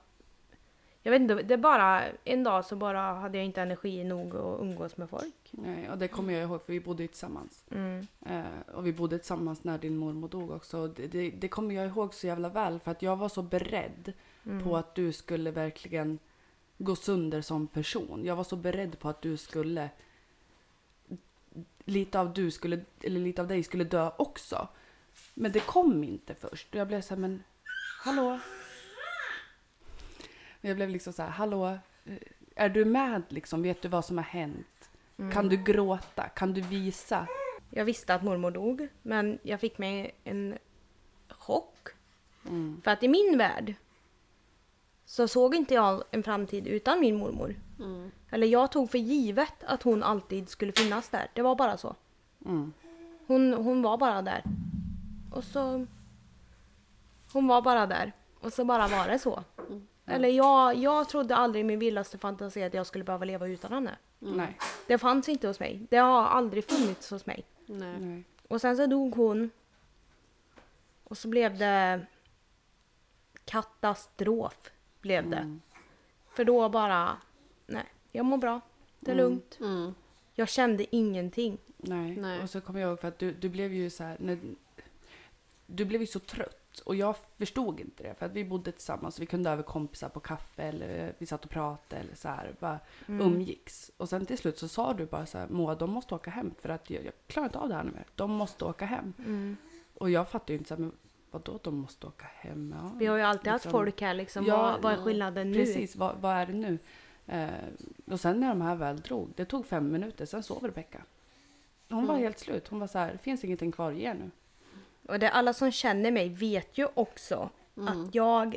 Jag vet inte, det bara... En dag så bara hade jag inte energi nog att umgås med folk.
Nej, och det kommer jag ihåg för vi bodde ju tillsammans. Eh, och vi bodde tillsammans när din mormor dog också. Och Det, det, det kommer jag ihåg så jävla väl för att jag var så beredd
Mm.
på att du skulle verkligen gå sönder som person. Jag var så beredd på att du skulle lite av du skulle eller lite av dig skulle dö också. Men det kom inte först och jag blev så här, men hallå. Jag blev liksom så här, hallå, eh, är du med liksom? Vet du vad som har hänt? Kan du gråta? Kan du visa?
Jag visste att mormor dog, men jag fick mig en chock. För att i min värld så såg inte jag en framtid utan min mormor. Eller jag tog för givet att hon alltid skulle finnas
Mm.
där. Det var bara så. Hon, hon var bara där. Och så Hon var bara där. Och så bara var det så. Eller jag, jag trodde aldrig i min vildaste fantasi att jag skulle behöva leva utan henne.
Nej.
Det fanns inte hos mig. Det har aldrig funnits hos mig.
Nej.
Nej.
Och sen så dog hon. Och så blev det katastrof. Blev det.
Mm.
För då bara, nej, jag mår bra. Det är lugnt.
Mm.
Jag kände ingenting.
Nej.
Nej.
Och så kommer jag ihåg för att du, du blev ju så här, när, du blev ju så trött och jag förstod inte det för att vi bodde tillsammans. Vi kunde över kompisar på kaffe eller vi satt och pratade eller så här, bara umgicks. Och sen till slut så sa du bara så här, Moa de måste åka hem för att jag, jag klarar inte av det här nu mer. De måste åka hem. Och jag fattade ju inte så här, men vadå de måste åka hem? Ja.
Vi har ju alltid haft
Liksom.
folk här liksom.
Ja,
vad, vad är skillnaden nu?
Precis, vad, vad är det nu? Eh, och sen när de här väl drog, det tog fem minuter, sen sov Rebecka. Hon
Mm.
var helt slut. Hon var så här, det finns ingenting kvar att ge nu.
Och det, alla som känner mig vet ju också
Mm.
att jag,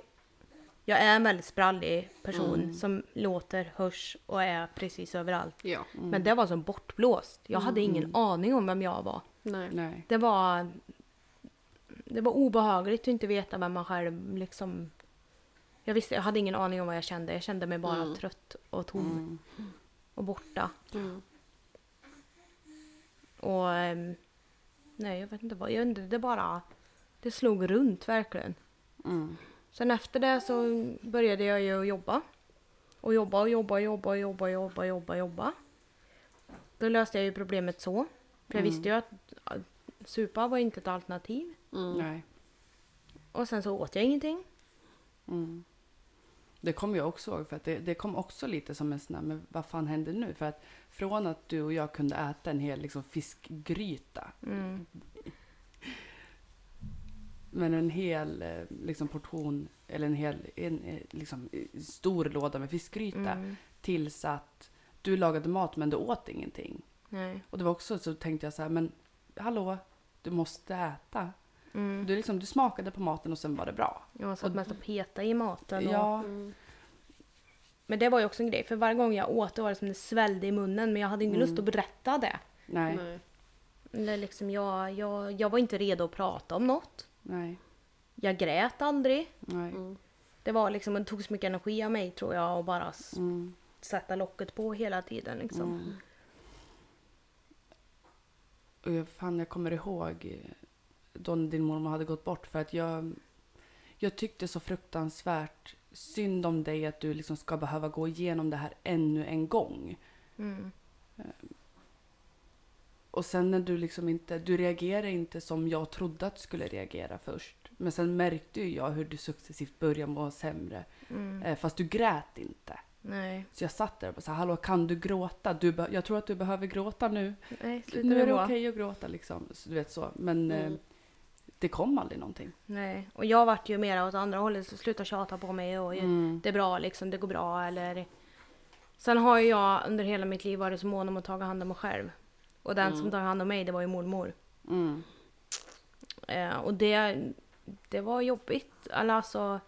jag är en väldigt sprallig person
Mm.
som låter, hörs och är precis överallt.
Ja.
Mm.
Men det var som bortblåst. Jag hade ingen aning om vem jag var.
Nej.
Nej.
Det var, det var obehagligt att inte veta vem man själv liksom... Jag, visste, jag hade ingen aning om vad jag kände. Jag kände mig bara
Mm.
trött och tom och borta.
Mm.
Och... ehm, Nej, jag vet inte vad. Jag vet inte, det bara... Det slog runt verkligen.
Mm.
Sen efter det så började jag ju jobba. Och jobba och jobba och jobba och jobba och jobba och jobba, och jobba. Då löste jag ju problemet så. För jag visste ju att ja, supa var inte ett alternativ.
Mm.
Nej.
Och sen så åt jag ingenting.
Mm. Det kommer jag också ihåg, för att det, det kom också lite som en sån här, men vad fan händer nu? För att från att du och jag kunde äta en hel liksom, fiskgryta,
Mm,
men en hel eh, liksom, portion, eller en hel en, eh, liksom, eh, stor låda med fiskgryta,
Mm.
tills att du lagade mat men du åt ingenting.
Nej.
Och det var också så tänkte jag så här, men hallå, du måste äta.
Mm.
Du, liksom, du smakade på maten och sen var det bra.
Jag satt mest och petade i maten. Och...
Ja,
Mm.
Men det var ju också en grej. För varje gång jag åt det var det som det svällde i munnen. Men jag hade ingen lust att berätta det.
nej, nej.
Nej.
Eller liksom jag, jag, jag var inte redo att prata om något.
nej.
Jag grät aldrig.
nej.
Mm.
Det var liksom, det tog så mycket energi av mig tror jag och bara s-
Mm.
sätta locket på hela tiden liksom.
Mm. Och jag, fan, jag kommer ihåg eh, då när din mormor hade gått bort för att jag, jag tyckte så fruktansvärt synd om dig att du liksom ska behöva gå igenom det här ännu en gång.
Mm.
Och sen när du liksom inte, du reagerade inte som jag trodde att du skulle reagera först. Men sen märkte ju jag hur du successivt började må sämre.
Mm.
Eh, Fast du grät inte.
Nej,
Så jag satt där och bara så här, hallå kan du gråta? Du be- jag tror att du behöver gråta nu.
nej sluta
nu är det
då.
okej att gråta liksom. Så, du vet så. Men
Mm.
eh, det kom aldrig någonting.
Nej, och jag vart ju mera åt andra hållet så sluta tjata på mig och
Mm.
det är bra liksom, det går bra eller... Sen har ju jag under hela mitt liv varit så mån om att ta hand om mig själv. Och den som tar hand om mig det var ju mormor.
Mm.
Eh, och det, det var jobbigt. Eller Alltså,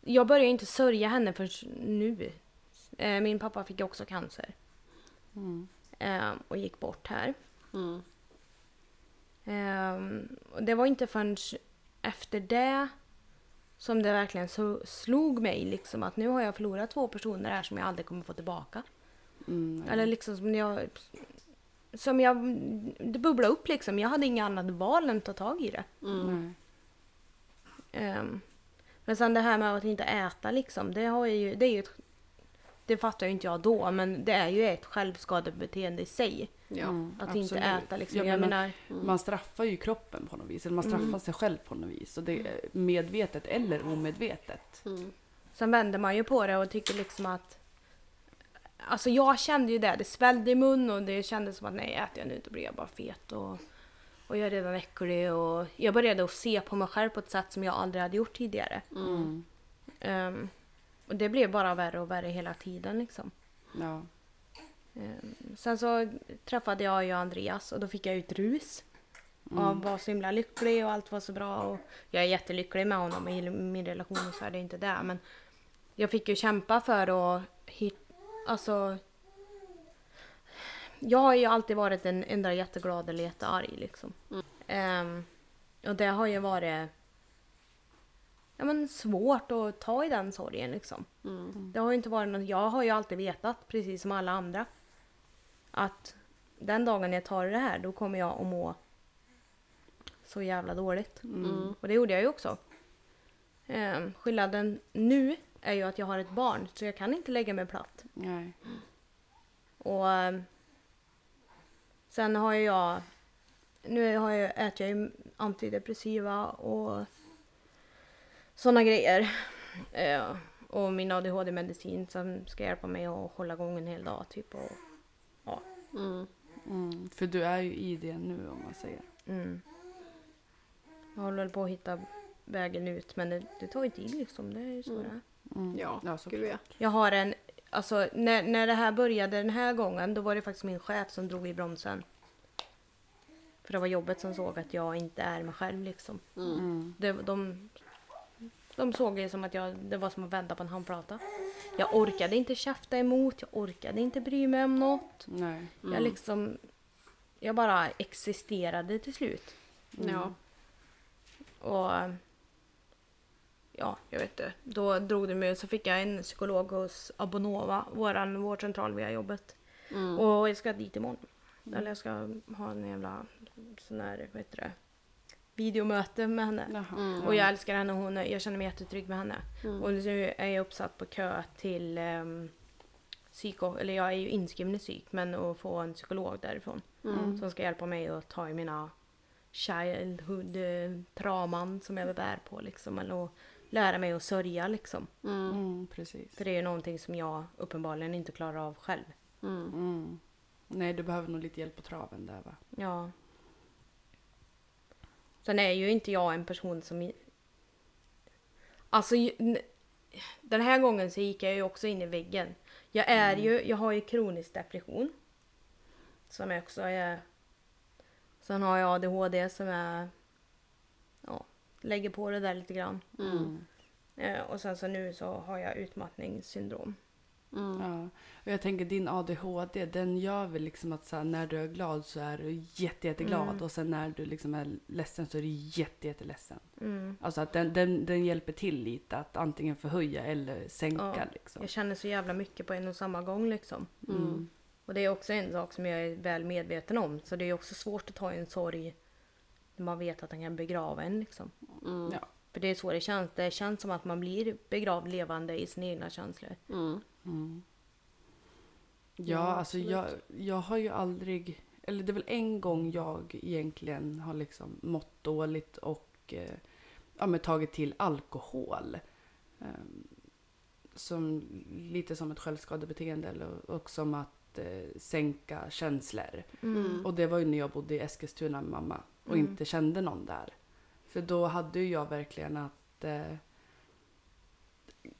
jag började inte sörja henne förrän nu. Eh, min pappa fick ju också cancer.
Mm.
eh, och gick bort här.
Mm.
Ehm, och det var inte förrän efter det som det verkligen så slog mig liksom att nu har jag förlorat två personer här som jag aldrig kommer få tillbaka.
Mm.
Eller liksom som jag... Som jag... Det bubblade upp liksom. Jag hade inget annat val än att ta tag i det.
Mm.
mm,
Nej.
Ehm, men sen det här med att inte äta liksom. Det, har jag ju, det är ju ett... Det fattar ju inte jag då, men det är ju ett självskadebeteende i sig.
Ja. Mm.
Mm,
Att
absolut.
inte äta liksom.
Jag
jag
menar-
menar Mm.
Man straffar ju kroppen på något vis. Eller man straffar sig själv på något vis. Och det är medvetet eller omedvetet.
Mm.
Sen vänder man ju på det och tycker liksom att... Alltså jag kände ju det, det svällde i mun och det kändes som att nej, äter jag nu inte blir jag bara fet och, och jag är redan äcklig och jag började att se på mig själv på ett sätt som jag aldrig hade gjort tidigare.
Mm.
Ehm, och det blev bara värre och värre hela tiden liksom.
Ja.
Ehm, sen så träffade jag ju Andreas och då fick jag ut rus. Och han var så himla lycklig och allt var så bra. Och jag är jättelycklig med honom och i min relation och så är det inte det. Men jag fick ju kämpa för att hitta... Alltså... Jag har ju alltid varit en endera jätteglad eller jättearg liksom. Ehm, och det har ju varit ja, men svårt att ta i den sorgen liksom.
Mm.
Det har ju inte varit något, jag har ju alltid vetat, precis som alla andra, att den dagen jag tar det här då kommer jag att må så jävla dåligt.
Mm.
Och det gjorde jag ju också. Ehm, skillnaden nu är ju att jag har ett barn så jag kan inte lägga mig platt.
Nej.
Och ehm, sen har ju jag, nu har jag, äter jag ju antidepressiva och sådana grejer. Eh, och min ADHD-medicin som ska hjälpa mig att hålla igång en hel dag typ. Och,
Mm.
Mm. För du är ju i det nu om man säger.
mm. Jag håller väl på att hitta vägen ut men det, det tar ju tid liksom. Det är ju så
Mm.
det är.
Mm.
Ja,
så-
gud ja.
Jag har en, alltså när, när det här började den här gången då var det faktiskt min chef som drog i bromsen. För det var jobbet som såg att jag inte är mig själv liksom.
Mm.
Mm.
Det, de, de såg det som att jag, det var som att vända på en handplata. Jag orkade inte käfta emot, jag orkade inte bry mig om något.
Nej.
Jag
Mm.
liksom, jag bara existerade till slut.
Mm.
Ja.
Och ja, jag vet inte. Då drog det mig så fick jag en psykolog hos Abonova, våran vårdcentral via jobbet.
Mm.
Och jag ska dit imorgon. Eller jag ska ha en jävla sån här, vad heter det, videomöte med henne.
Jaha.
Mm.
Och jag älskar henne, hon, är- jag känner mig jättetrygg med henne.
Mm.
Och nu är jag uppsatt på kö till um, psyko, eller jag är ju inskriven i psyk, men att få en psykolog därifrån.
Mm.
Som ska hjälpa mig att ta i mina childhood eh, trauman som jag bär på liksom. Eller att lära mig att sörja liksom.
Mm.
Mm, precis.
För det är ju någonting som jag uppenbarligen inte klarar av själv.
Mm.
Mm. Nej, du behöver nog lite hjälp på traven där va?
Ja. Sen är ju inte jag en person som... i- Alltså, ju- n- den här gången så gick jag ju också in i väggen. Jag är ju, jag har ju kronisk depression. Som jag också är... Sen har jag ADHD som är... Ja, lägger på det där lite grann.
Mm.
Eh, och sen så nu så har jag utmattningssyndrom.
Mm.
Ja. Och jag tänker din ADHD, den gör väl liksom att så här, när du är glad så är du jätte, jätteglad
Mm.
och sen när du liksom är ledsen så är du jätte, jätteledsen.
Mm.
Alltså att den, den, den hjälper till lite att antingen förhöja eller sänka
Ja,
liksom.
Jag känner så jävla mycket på en och samma gång liksom.
Mm.
Och det är också en sak som jag är väl medveten om. Så det är också svårt att ta en sorg när man vet att den kan begrava en. Liksom.
Mm.
Ja.
För det är så det känns. Det känns som att man blir begravd levande i sina egna känslor.
Mm.
Mm. Ja,
Ja,
alltså jag,
absolut.
jag har ju aldrig, eller det är väl en gång jag egentligen har liksom mått dåligt och eh, ja, men tagit till alkohol. Ehm, som lite som ett självskadebeteende eller, och som att eh, sänka känslor.
Mm.
Och det var ju när jag bodde i Eskilstuna med mamma och
Mm.
inte kände någon där. För då hade ju jag verkligen att... Eh,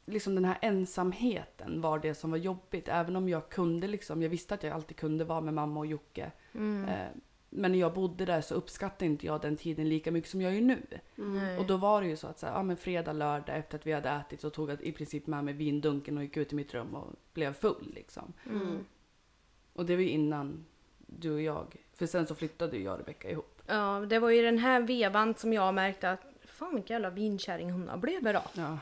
liksom den här ensamheten var det som var jobbigt. Även om jag kunde liksom, jag visste att jag alltid kunde vara med mamma och Jocke.
Mm.
Eh, men när jag bodde där så uppskattade inte jag den tiden lika mycket som jag gör nu. Mm. Och då var det ju så att så här, ja, men fredag, lördag efter att vi hade ätit så tog jag i princip med mig vindunken och gick ut i mitt rum och blev full liksom.
Mm.
Och det var ju innan du och jag. För sen så flyttade ju jag och Rebecka ihop.
Ja, det var ju den här vevan som jag märkte att fan vilken jävla vinkärring hon har blivit då.
Ja.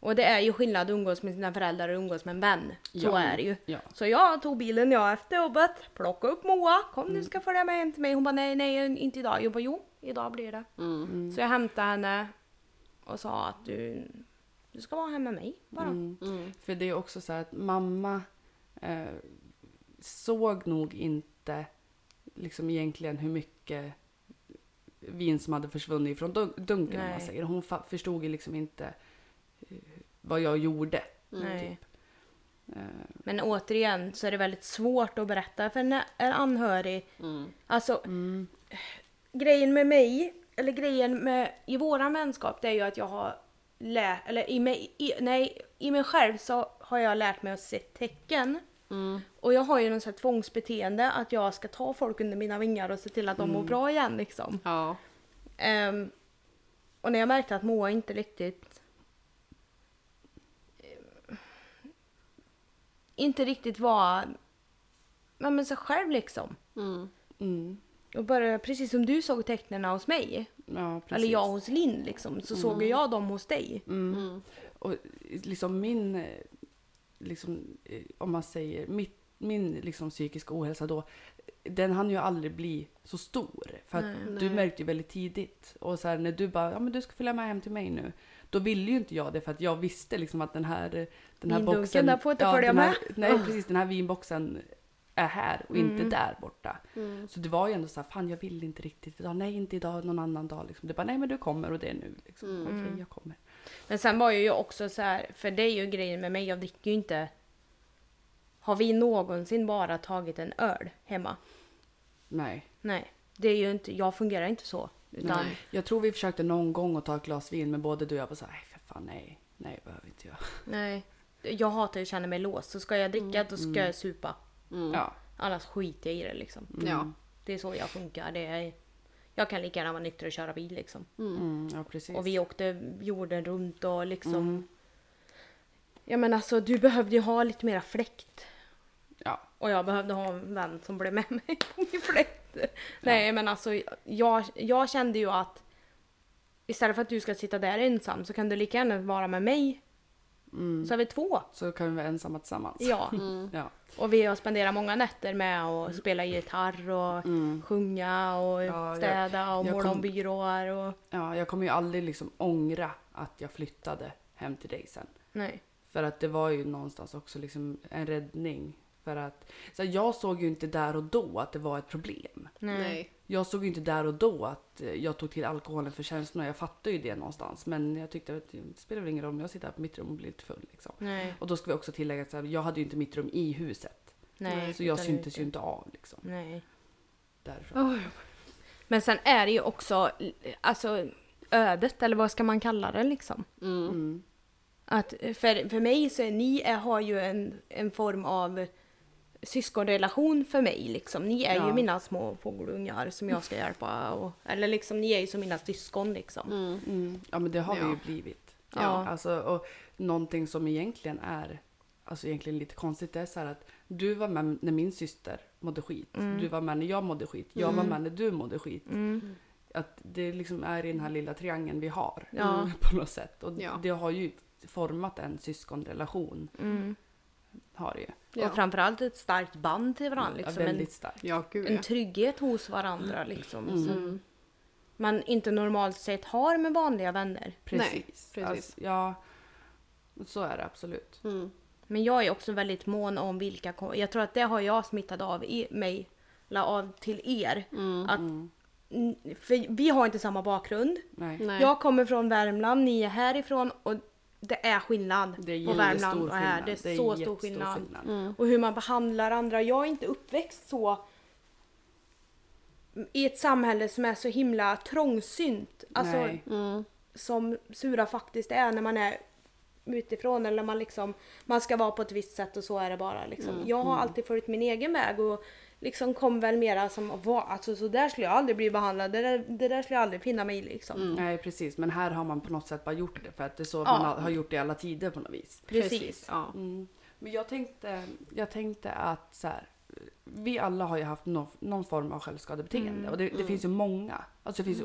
Och det är ju skillnad att umgås med sina föräldrar och umgås med en vän. Så
Ja.
är det ju.
Ja.
Så jag tog bilen jag efter jobbet, plockade upp Moa, kom du
Mm.
ska följa med hem till mig. Hon bara nej, nej, inte idag. Jag bara jo, idag blir det.
Mm.
Så jag hämtade henne och sa att du, du ska vara hemma med mig bara.
Mm.
Mm.
För det är också så här att mamma eh, såg nog inte liksom egentligen hur mycket vin som hade försvunnit ifrån dun- dunken. Om man
Nej.
säger. Hon fa- förstod ju liksom inte eh, vad jag gjorde.
Mm,
Nej.
Eh,
Men återigen så är det väldigt svårt att berätta för en, en anhörig.
Mm.
Alltså grejen med mig, eller grejen med, i våran vänskap, det är ju att jag har lärt, eller i mig, i, nej, i mig själv så har jag lärt mig att se tecken.
Mm.
Och jag har ju någon sån här tvångsbeteende att jag ska ta folk under mina vingar och se till att de mår bra igen liksom.
Ja.
Ehm, och när jag märkte att Moa inte riktigt... ehm, inte riktigt var ja, men sig själv liksom.
Mm.
Mm.
Och började, precis som du såg tecknen hos mig,
Ja, precis.
eller jag hos Linn liksom, så såg ju jag dem hos dig.
Mm.
Mm.
Och liksom min, eh, liksom, eh, om man säger, mitt, min liksom psykiska ohälsa då, den hann ju aldrig bli så stor. För att
Nej.
du
Nej.
märkte ju väldigt tidigt. Och så här, när du bara, ja men du ska följa med hem till mig nu. Då ville ju inte jag det för att jag visste liksom att den här, den här
Vindunken
boxen.
där får inte
ja,
följa
den här, Nej precis, den här vinboxen är här och
Mm.
inte där borta.
Mm.
Så det var ju ändå så här, fan jag vill inte riktigt idag, nej inte idag, någon annan dag liksom. Det bara, nej men du kommer och det är nu liksom.
Mm.
Okej,
Mm.
jag kommer.
Men sen var ju jag också så här, för det är ju grejen med mig, jag dricker ju inte. Har vi någonsin bara tagit en öl hemma?
Nej.
Nej, det är ju inte, jag fungerar inte så. Utan,
Nej.
Jag tror vi försökte någon gång att ta ett glas vin men både du och jag var så här, nej för fan nej. Nej det behöver inte jag.
nej. Jag hatar att känna mig låst, så ska jag dricka då ska jag supa.
Mm.
Ja.
Annars skiter jag i det liksom.
Ja.
Det är så jag funkar. Det är, jag kan lika gärna vara nykter och köra bil liksom.
Mm, ja precis.
Och vi åkte jorden runt och liksom... Jag menar alltså du behövde ju ha lite mera fläkt.
Ja.
Och jag behövde ha en vän som blev med mig på min fläkt. Nej men alltså jag, jag kände ju att istället för att du ska sitta där ensam så kan du lika gärna vara med mig. Så är vi två.
Så kan vi vara ensamma tillsammans.
Ja.
Ja.
Och vi har spenderat många nätter med att spela gitarr och sjunga och
Mm. Ja, jag-
städa och
jag
måla om
kom-
byråer och...
ja, jag kommer ju aldrig liksom ångra att jag flyttade hem till dig sen.
Nej.
För att det var ju någonstans också liksom en räddning. För att, så här, jag såg ju inte där och då att det var ett problem.
Nej.
Nej.
Jag såg ju inte där och då att eh, jag tog till alkoholen för känslorna. Jag fattade ju det någonstans. Men jag tyckte att det spelar väl ingen roll om jag sitter här på mitt rum och blir lite full. Liksom.
Nej.
Och då ska vi också tillägga att så här, jag hade ju inte mitt rum i huset.
Nej.
Så jag
utan
syntes
ute.
ju inte av liksom.
Nej.
Därifrån.
Oj.
Men sen är det ju också alltså, ödet, eller vad ska man kalla det liksom?
Mm.
Mm.
Att för, för mig så är ni är, har ju en, en form av syskonrelation för mig liksom. Ni är ju
Ja.
mina små fågelungar som jag ska hjälpa och, eller liksom ni är ju som mina syskon liksom.
Mm.
Mm. Ja men det har vi
Ja.
ju blivit.
Ja.
Alltså, och någonting som egentligen är alltså egentligen lite konstigt det är så här att du var med när min syster mådde skit. Du var med när jag mådde skit. Jag var med när du mådde skit.
Mm.
Att det liksom är i den här lilla triangeln vi har
Ja.
på något sätt. Och
Ja.
det har ju format en syskonrelation.
Mm.
Har det ju.
Och
Ja.
framförallt ett starkt band till varandra liksom.
ja,
en,
väldigt starkt.
ja, gud ja.
en trygghet hos varandra liksom.
Mm.
Som
Mm.
man inte normalt sett har med vanliga vänner.
Precis.
Nej, precis.
Alltså, ja, så är det absolut.
Mm.
Men jag är också väldigt mån om vilka... kom- Jag tror att det har jag smittat av i mig, eller av till er.
Mm,
Att, n- för vi har inte samma bakgrund.
Nej.
Nej.
Jag kommer från Värmland, ni är härifrån och det är skillnad
Det
på
är
Värmland
jättestor
och här.
skillnad.
Det är, så stor
jättestor
skillnad. Mm. Och hur man behandlar andra. Jag är inte uppväxt så i ett samhälle som är så himla trångsynt. Alltså,
Nej.
Mm.
som sura faktiskt är när man är utifrån eller man liksom man ska vara på ett visst sätt och så är det bara liksom. Jag har alltid följt min egen väg och liksom kom väl mera som att vara, alltså så där skulle jag aldrig bli behandlad, det där, det där skulle jag aldrig finna mig i liksom.
Nej precis, men här har man på något sätt bara gjort det för att det är så
Ja.
man har- har gjort det i alla tider på något vis. Mm.
Precis.
Ja.
Men jag tänkte, jag tänkte att så här, vi alla har ju haft någon, någon form av självskadebeteende och det, det finns ju många. Alltså det finns ju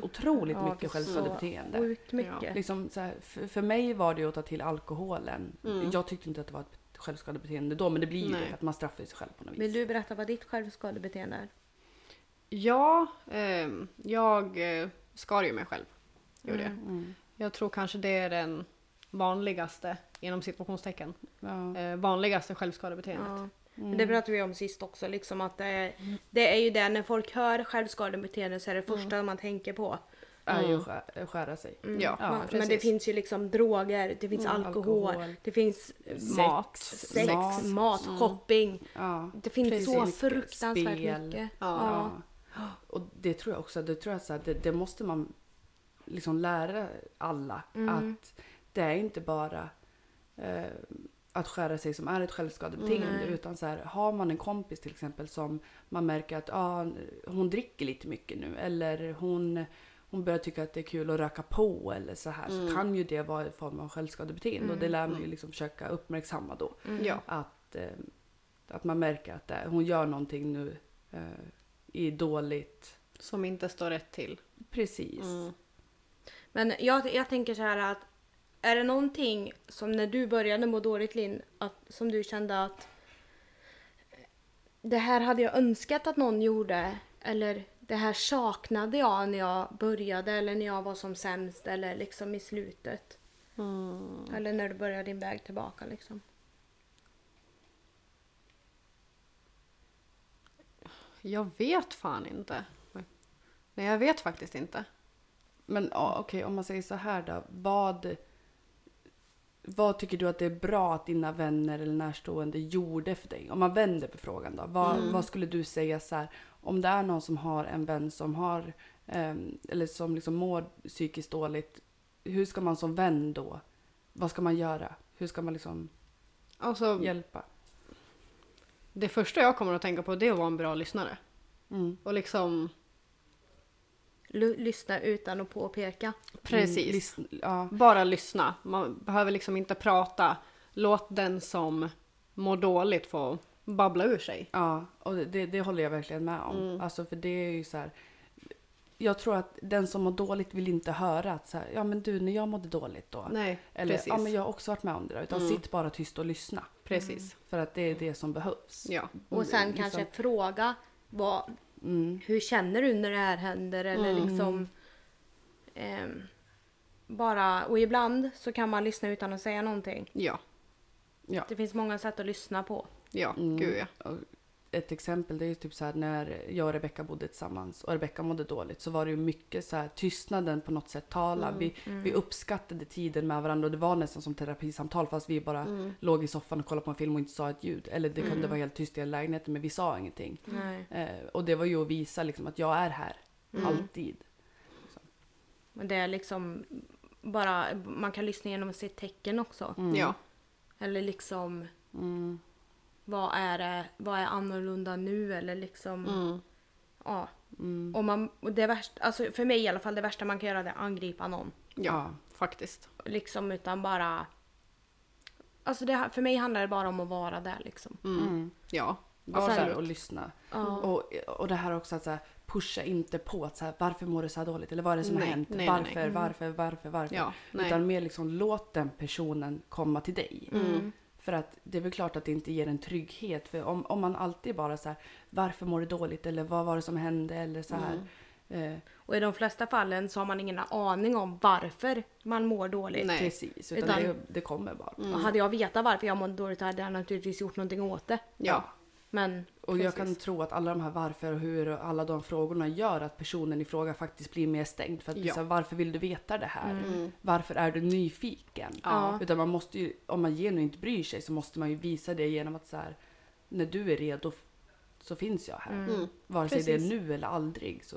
Mm,
otroligt
Ja, det är
mycket
så
självskadebeteende.
Sjukt
Eh.
mycket.
Liksom så här, för, för mig var det ju att ta till alkoholen. Jag tyckte inte att det var ett självskadebeteende då men det blir ju
Mm. Nej.
det för att man straffar ju sig själv på något vis.
Vill du berätta vad ditt självskadebeteende är?
Ja, ehm, jag eh, skar ju mig själv. Gjorde jag. jag tror kanske det är den vanligaste, inom situationstecken,
Ja.
eh, vanligaste självskadebeteendet.
Ja. Men Det pratade vi om sist också, liksom att det är, det är ju det när folk hör självskadebeteende så är det första man tänker på.
Är ju att skä- skära sig.
Ja,
Ja,
Man,
precis.
mm. men det finns ju liksom droger, det finns alkohol,
alkohol.
det finns eh,
mat,
sex, mat,
Mat.
shopping.
Ja.
Det finns
Precis.
så
Mycket
fruktansvärt
spel.
mycket.
Ja.
Ja. Och det tror jag också, det tror jag så här, det, det måste man liksom lära alla att det är inte bara eh, att skära sig som är ett självskadebeteende
Nej.
utan så här, har man en kompis till exempel som man märker att ah, hon dricker lite mycket nu eller hon hon börjar tycka att det är kul att röka på eller så här så kan ju det vara en form av självskadebeteende och det lär man ju liksom försöka uppmärksamma då
mm.
Ja.
att, eh, att man märker att det, hon gör någonting nu eh, i eh, dåligt
Som inte står rätt till.
Precis.
Mm.
Men jag, jag tänker så här att är det någonting som när du började må dåligt Linn, att, som du kände att det här hade jag önskat att någon gjorde eller det här saknade jag när jag började eller när jag var som sämst eller liksom i slutet.
Mm.
Eller när du började din väg tillbaka liksom.
Jag vet fan inte. Nej, jag vet faktiskt inte.
Men ja, okej, om man säger så här då. Vad, vad tycker du att det är bra att dina vänner eller närstående gjorde för dig? Om man vänder på frågan då. Vad, vad skulle du säga så här, om det är någon som har en vän som har, ehm, eller som liksom mår psykiskt dåligt. Hur ska man som vän då? Vad ska man göra? Hur ska man liksom
Alltså,
hjälpa?
Det första jag kommer att tänka på det är att vara en bra lyssnare.
Mm.
Och liksom,
Lu- lyssna utan att påpeka.
Mm,
precis.
listen- ja.
Bara lyssna. Man behöver liksom inte prata. Låt den som mår dåligt få babbla ur sig.
Ja, och det- det, det håller jag verkligen med om.
Mm.
Alltså för det är ju så här. Jag tror att den som mår dåligt vill inte höra att så här, ja men du när jag mådde dåligt då.
Nej,
Eller
precis. Mm.
ja men jag har också varit med om det där. Utan sitt bara tyst och lyssna.
Precis.
För att det är det som behövs.
Mm. Ja.
Och sen
Liksom-
kanske fråga vad,
Mm.
hur känner du när det här händer eller liksom ehm, bara och ibland så kan man lyssna utan att säga någonting.
Ja.
Det finns många sätt att lyssna på.
Ja.
Mm.
Gud ja.
Och Ett exempel det är ju typ så här när jag och Rebecka bodde tillsammans och Rebecka mådde dåligt så var det ju mycket så här tystnaden på något sätt tala.
Mm,
Vi, vi uppskattade tiden med varandra och det var nästan som terapisamtal fast vi bara
Mm.
låg i soffan och kollade på en film och inte sa ett ljud. Eller det kunde vara helt tyst i hela lägenheten men vi sa ingenting.
Nej.
Eh, och det var ju att visa liksom att jag är här
Mm.
alltid.
Men det är liksom bara, man kan lyssna genom att se tecken också.
Mm.
Ja.
Eller liksom vad är det, vad är annorlunda nu eller liksom ja. Och, man, och det värsta, alltså för mig i alla fall, det värsta man kan göra det är att angripa någon.
Ja. Faktiskt.
liksom utan bara... Alltså det, för mig handlar det bara om att vara där liksom. Mm.
Mm. Ja.
Var
sen-
där och lyssna.
Ja.
Och, och det här också att så här, pusha inte på att så här, varför mår du så här dåligt? Eller vad är det som
Nej,
har hänt?
nej, Mm. nej,
varför,
nej.
varför, varför, varför?
Ja, nej. Mm.
Utan mer liksom låt den personen komma till dig. För att det är väl klart att det inte ger en trygghet. För om, om man alltid bara så här, varför mår du dåligt? Eller vad var det som hände? Eller så här.
Mm.
Eh,
Och i de flesta fallen så har man ingen aning om varför man mår dåligt.
Nej. Mm,
precis, utan,
Utan-
Det, det kommer bara.
Och hade jag vetat varför jag mådde dåligt hade jag naturligtvis gjort någonting åt det.
Ja.
Men
Och jag kan tro att alla de här varför och hur och alla de frågorna gör att personen i fråga faktiskt blir mer stängd. För att det är
Ja. Mm.
så här, varför vill du veta det här? Varför är du nyfiken?
Ja.
Utan man måste ju, om man genuint bryr sig så måste man ju visa det genom att så här, när du är redo f- så finns
Mm.
jag här. Vare sig
Precis.
det är nu eller aldrig. Så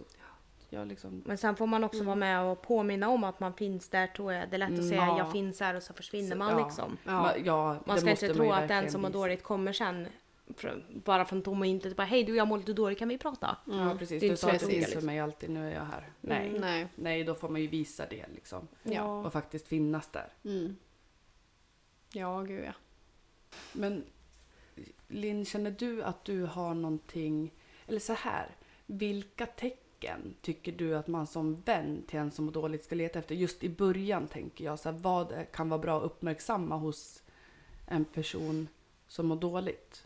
jag liksom,
Men sen får man också vara med och påminna om att man finns där tror jag. Det är lätt att säga
ja.
jag finns här och så försvinner man liksom.
Mm, Ja, Ma- ja,
Man
det
ska
måste
inte
man
tro
ju
att den
verkligen
som mår
visa.
dåligt kommer sen fr- bara från tom och intet. Bara hej du jag mår lite dåligt kan vi prata?
Ja
Mm.
precis,
Mm. Det är
du
inte
sa att
så Mm, det
det finns
ska
för mig alltid, nu är jag här. Nej.
Nej.
Nej, då får man ju visa det liksom.
Ja. Mm.
Och faktiskt finnas där.
Ja, gud ja.
Men Linn, känner du att du har någonting, eller så här, vilka tecken tycker du att man som vän till en som mår dåligt ska leta efter? Just i början tänker jag, så här, vad kan vara bra att uppmärksamma hos en person som mår dåligt?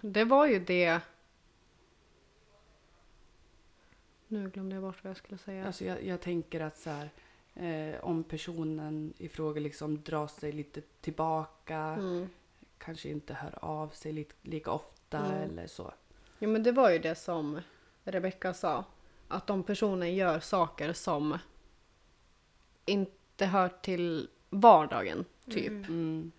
Det var ju det... Nu glömde jag bort vad jag skulle säga.
Alltså jag, jag tänker att så här, eh, om personen i fråga liksom drar sig lite tillbaka,
Mm.
kanske inte hör av sig li- lika ofta eller så.
Ja men det var ju det som Rebecca sa. Att om personen gör saker som inte hör till vardagen, typ.
Mm.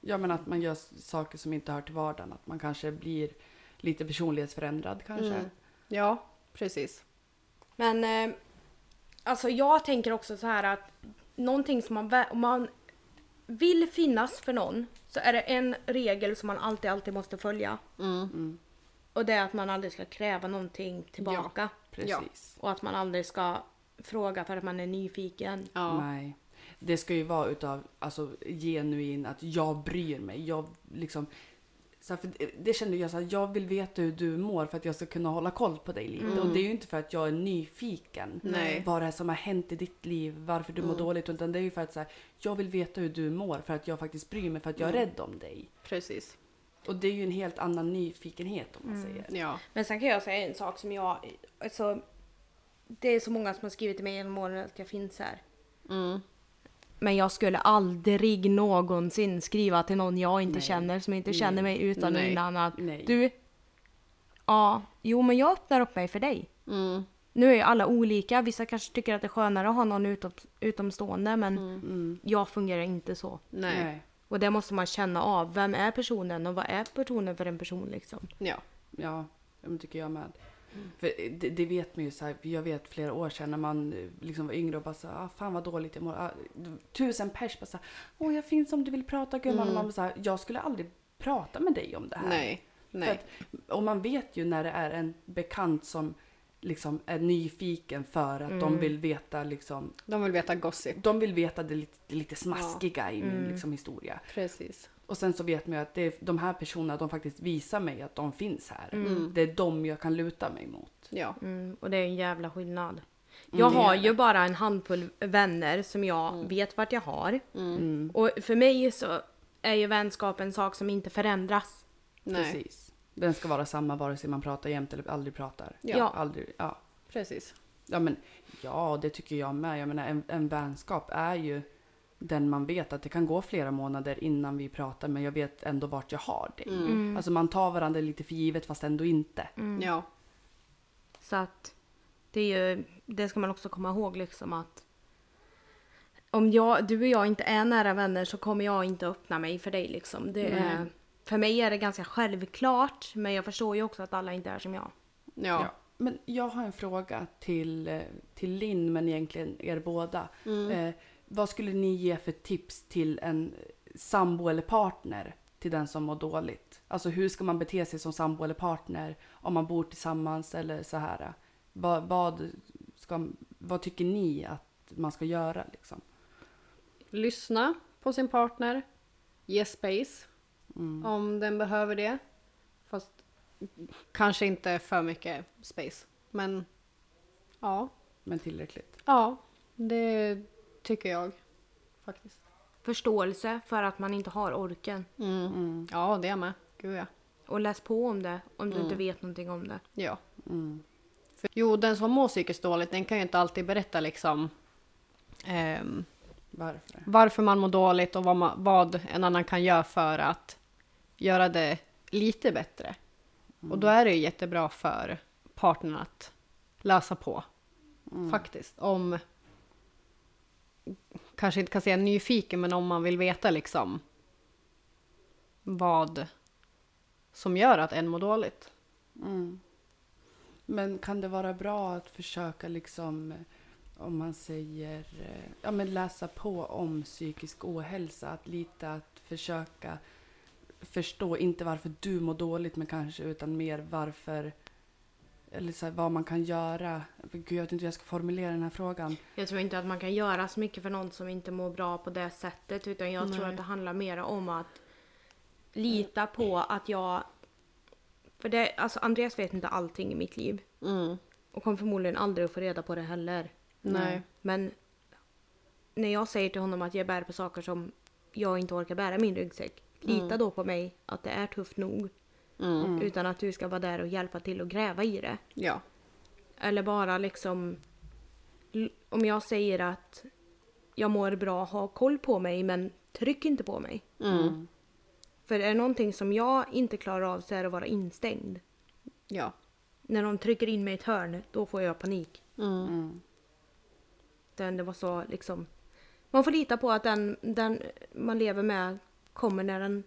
Ja men att man gör s- saker som inte hör till vardagen. Att man kanske blir lite personlighetsförändrad kanske.
Mm. Ja, precis.
Men eh, alltså jag tänker också så här att någonting som man, vä- om man vill finnas för någon så är det en regel som man alltid, alltid måste följa.
Mm.
Och det är att man aldrig ska kräva någonting tillbaka.
Precis.
Och att man aldrig ska fråga för att man är nyfiken.
Ja.
Nej. Det ska ju vara utav alltså, genuin att jag bryr mig. Jag liksom Så här, för det- det kände jag så här, jag vill veta hur du mår för att jag ska kunna hålla koll på dig lite.
Mm.
Och det är ju inte för att jag är nyfiken.
Nej.
Vad det är som har hänt i ditt liv, varför du mår
Mm.
dåligt. Utan det är ju för att så här, jag vill veta hur du mår för att jag faktiskt bryr mig för att jag är
Mm.
rädd om dig.
Precis.
Och det är ju en helt annan nyfikenhet om man
Mm.
säger.
Ja.
Men sen kan jag säga en sak som jag... Alltså, det är så många som har skrivit till mig genom åren att jag finns här.
Mm.
Men jag skulle aldrig någonsin skriva till någon jag inte
Nej.
känner som inte
Nej.
känner mig utan
Nej.
och innan att
Nej.
du... Ja, jo men jag öppnar upp mig för dig.
Mm.
Nu är ju alla olika, vissa kanske tycker att det är skönare att ha någon utom, utomstående men
Mm.
jag fungerar inte så.
Nej.
Och det måste man känna av. Vem är personen och vad är personen för en person liksom?
Ja.
Ja, det tycker jag med. För det, det vet man ju så här, jag vet flera år sedan när man eh, liksom var yngre och bara så här, ah, fan vad dåligt jag mår. Ah, tusen pers bara så här, åh jag finns om du vill prata gumman. Och man bara så här, jag skulle aldrig prata med dig om det här.
Mm. Nej.
För
Nej.
att, och man vet ju när det är en bekant som liksom är nyfiken för att
Mm.
de vill veta liksom,
De vill veta gossip.
de vill veta det lite, det lite smaskiga i
Mm.
min liksom, historia.
Precis.
Och sen så vet man ju att det är de här personerna, de faktiskt visar mig att de finns här.
Mm.
Det är de jag kan luta mig mot.
Ja.
Mm, och det är en jävla skillnad.
Mm,
Jag har ju bara en handfull vänner som jag vet vart jag har.
Mm.
Mm.
Och för mig så är ju vänskap en sak som inte förändras.
Nej. Precis.
Precis. Den ska vara samma vare sig man pratar jämt eller aldrig pratar.
Ja.
Ja.
Aldrig, ja.
Precis.
ja, men ja, det tycker jag med. Jag menar, en, en vänskap är ju den man vet att det kan gå flera månader innan vi pratar men jag vet ändå vart jag har dig.
Mm.
Alltså man tar varandra lite för givet fast ändå inte.
Ja.
Så att det är ju, det ska man också komma ihåg liksom att om jag, du och jag inte är nära vänner så kommer jag inte öppna mig för dig liksom. Det är, för mig är det ganska självklart men jag förstår ju också att alla inte är som jag.
Ja.
Men jag har en fråga till, eh, till Linn, men egentligen er båda. Eh, vad skulle ni ge för tips till en sambo eller partner till den som mår dåligt? Alltså hur ska man bete sig som sambo eller partner om man bor tillsammans eller så här? Vad, vad, ska, vad tycker ni att man ska göra liksom?
Lyssna på sin partner. Ge space. Om den behöver det. Fast kanske inte för mycket space. Men ja.
Men tillräckligt.
Ja. Det tycker jag. Faktiskt.
Förståelse för att man inte har orken.
Mm. Ja, det är med. Gud ja.
Och läs på om det om du inte vet någonting om det.
Ja.
Mm,
För, jo, den som mår psykiskt dåligt den kan ju inte alltid berätta liksom ehm,
Varför?
varför man mår dåligt och vad, man, vad en annan kan göra för att göra det lite bättre. Och då är det ju jättebra för partnern att läsa på Mm. faktiskt om kanske inte kan säga nyfiken men om man vill veta liksom vad som gör att en mår dåligt.
Mm. Men kan det vara bra att försöka liksom eh, om man säger, eh, ja men läsa på om psykisk ohälsa, att lite att försöka förstå, inte varför du mår dåligt men kanske utan mer varför, eller så här, vad man kan göra. Gud jag vet inte hur jag ska formulera den här frågan.
Jag tror inte att man kan göra så mycket för någon som inte mår bra på det sättet utan jag tror att det handlar mer om att lita på att jag... För det, alltså Andreas vet inte allting i mitt liv
Mm.
och kommer förmodligen aldrig att få reda på det heller.
Nej.
Men när jag säger till honom att jag bär på saker som jag inte orkar bära i min ryggsäck. Lita då på mig att det är tufft nog.
Mm.
Utan att du ska vara där och hjälpa till och gräva i det.
Ja.
Eller bara liksom... l- Om jag säger att jag mår bra, ha koll på mig men tryck inte på mig.
Mm.
För är det någonting som jag inte klarar av så är det att vara instängd.
Ja.
När de trycker in mig i ett hörn, då får jag panik.
Mm.
Den, det var så liksom... Man får lita på att den, den man lever med kommer när den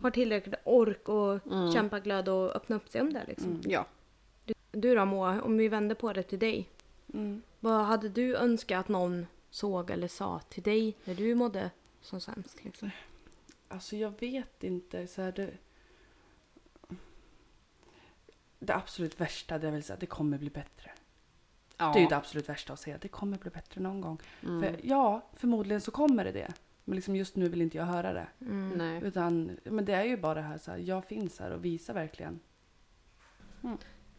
har tillräckligt ork och kämpaglöd och öppna upp sig om det liksom.
Mm. Ja.
Du då Moa, om vi vänder på det till dig.
Mm.
Vad hade du önskat att någon såg eller sa till dig när du mådde som sämst? Liksom?
Alltså jag vet inte. Så här, det... det absolut värsta det är väl så att det kommer bli bättre.
ja. Mm.
Det är ju det absolut värsta att säga. Det kommer bli bättre någon gång. För, ja, förmodligen så kommer det det. Men liksom just nu vill inte jag höra det.
Mm.
Nej.
Utan men det är ju bara det här, så här jag finns här och visar verkligen.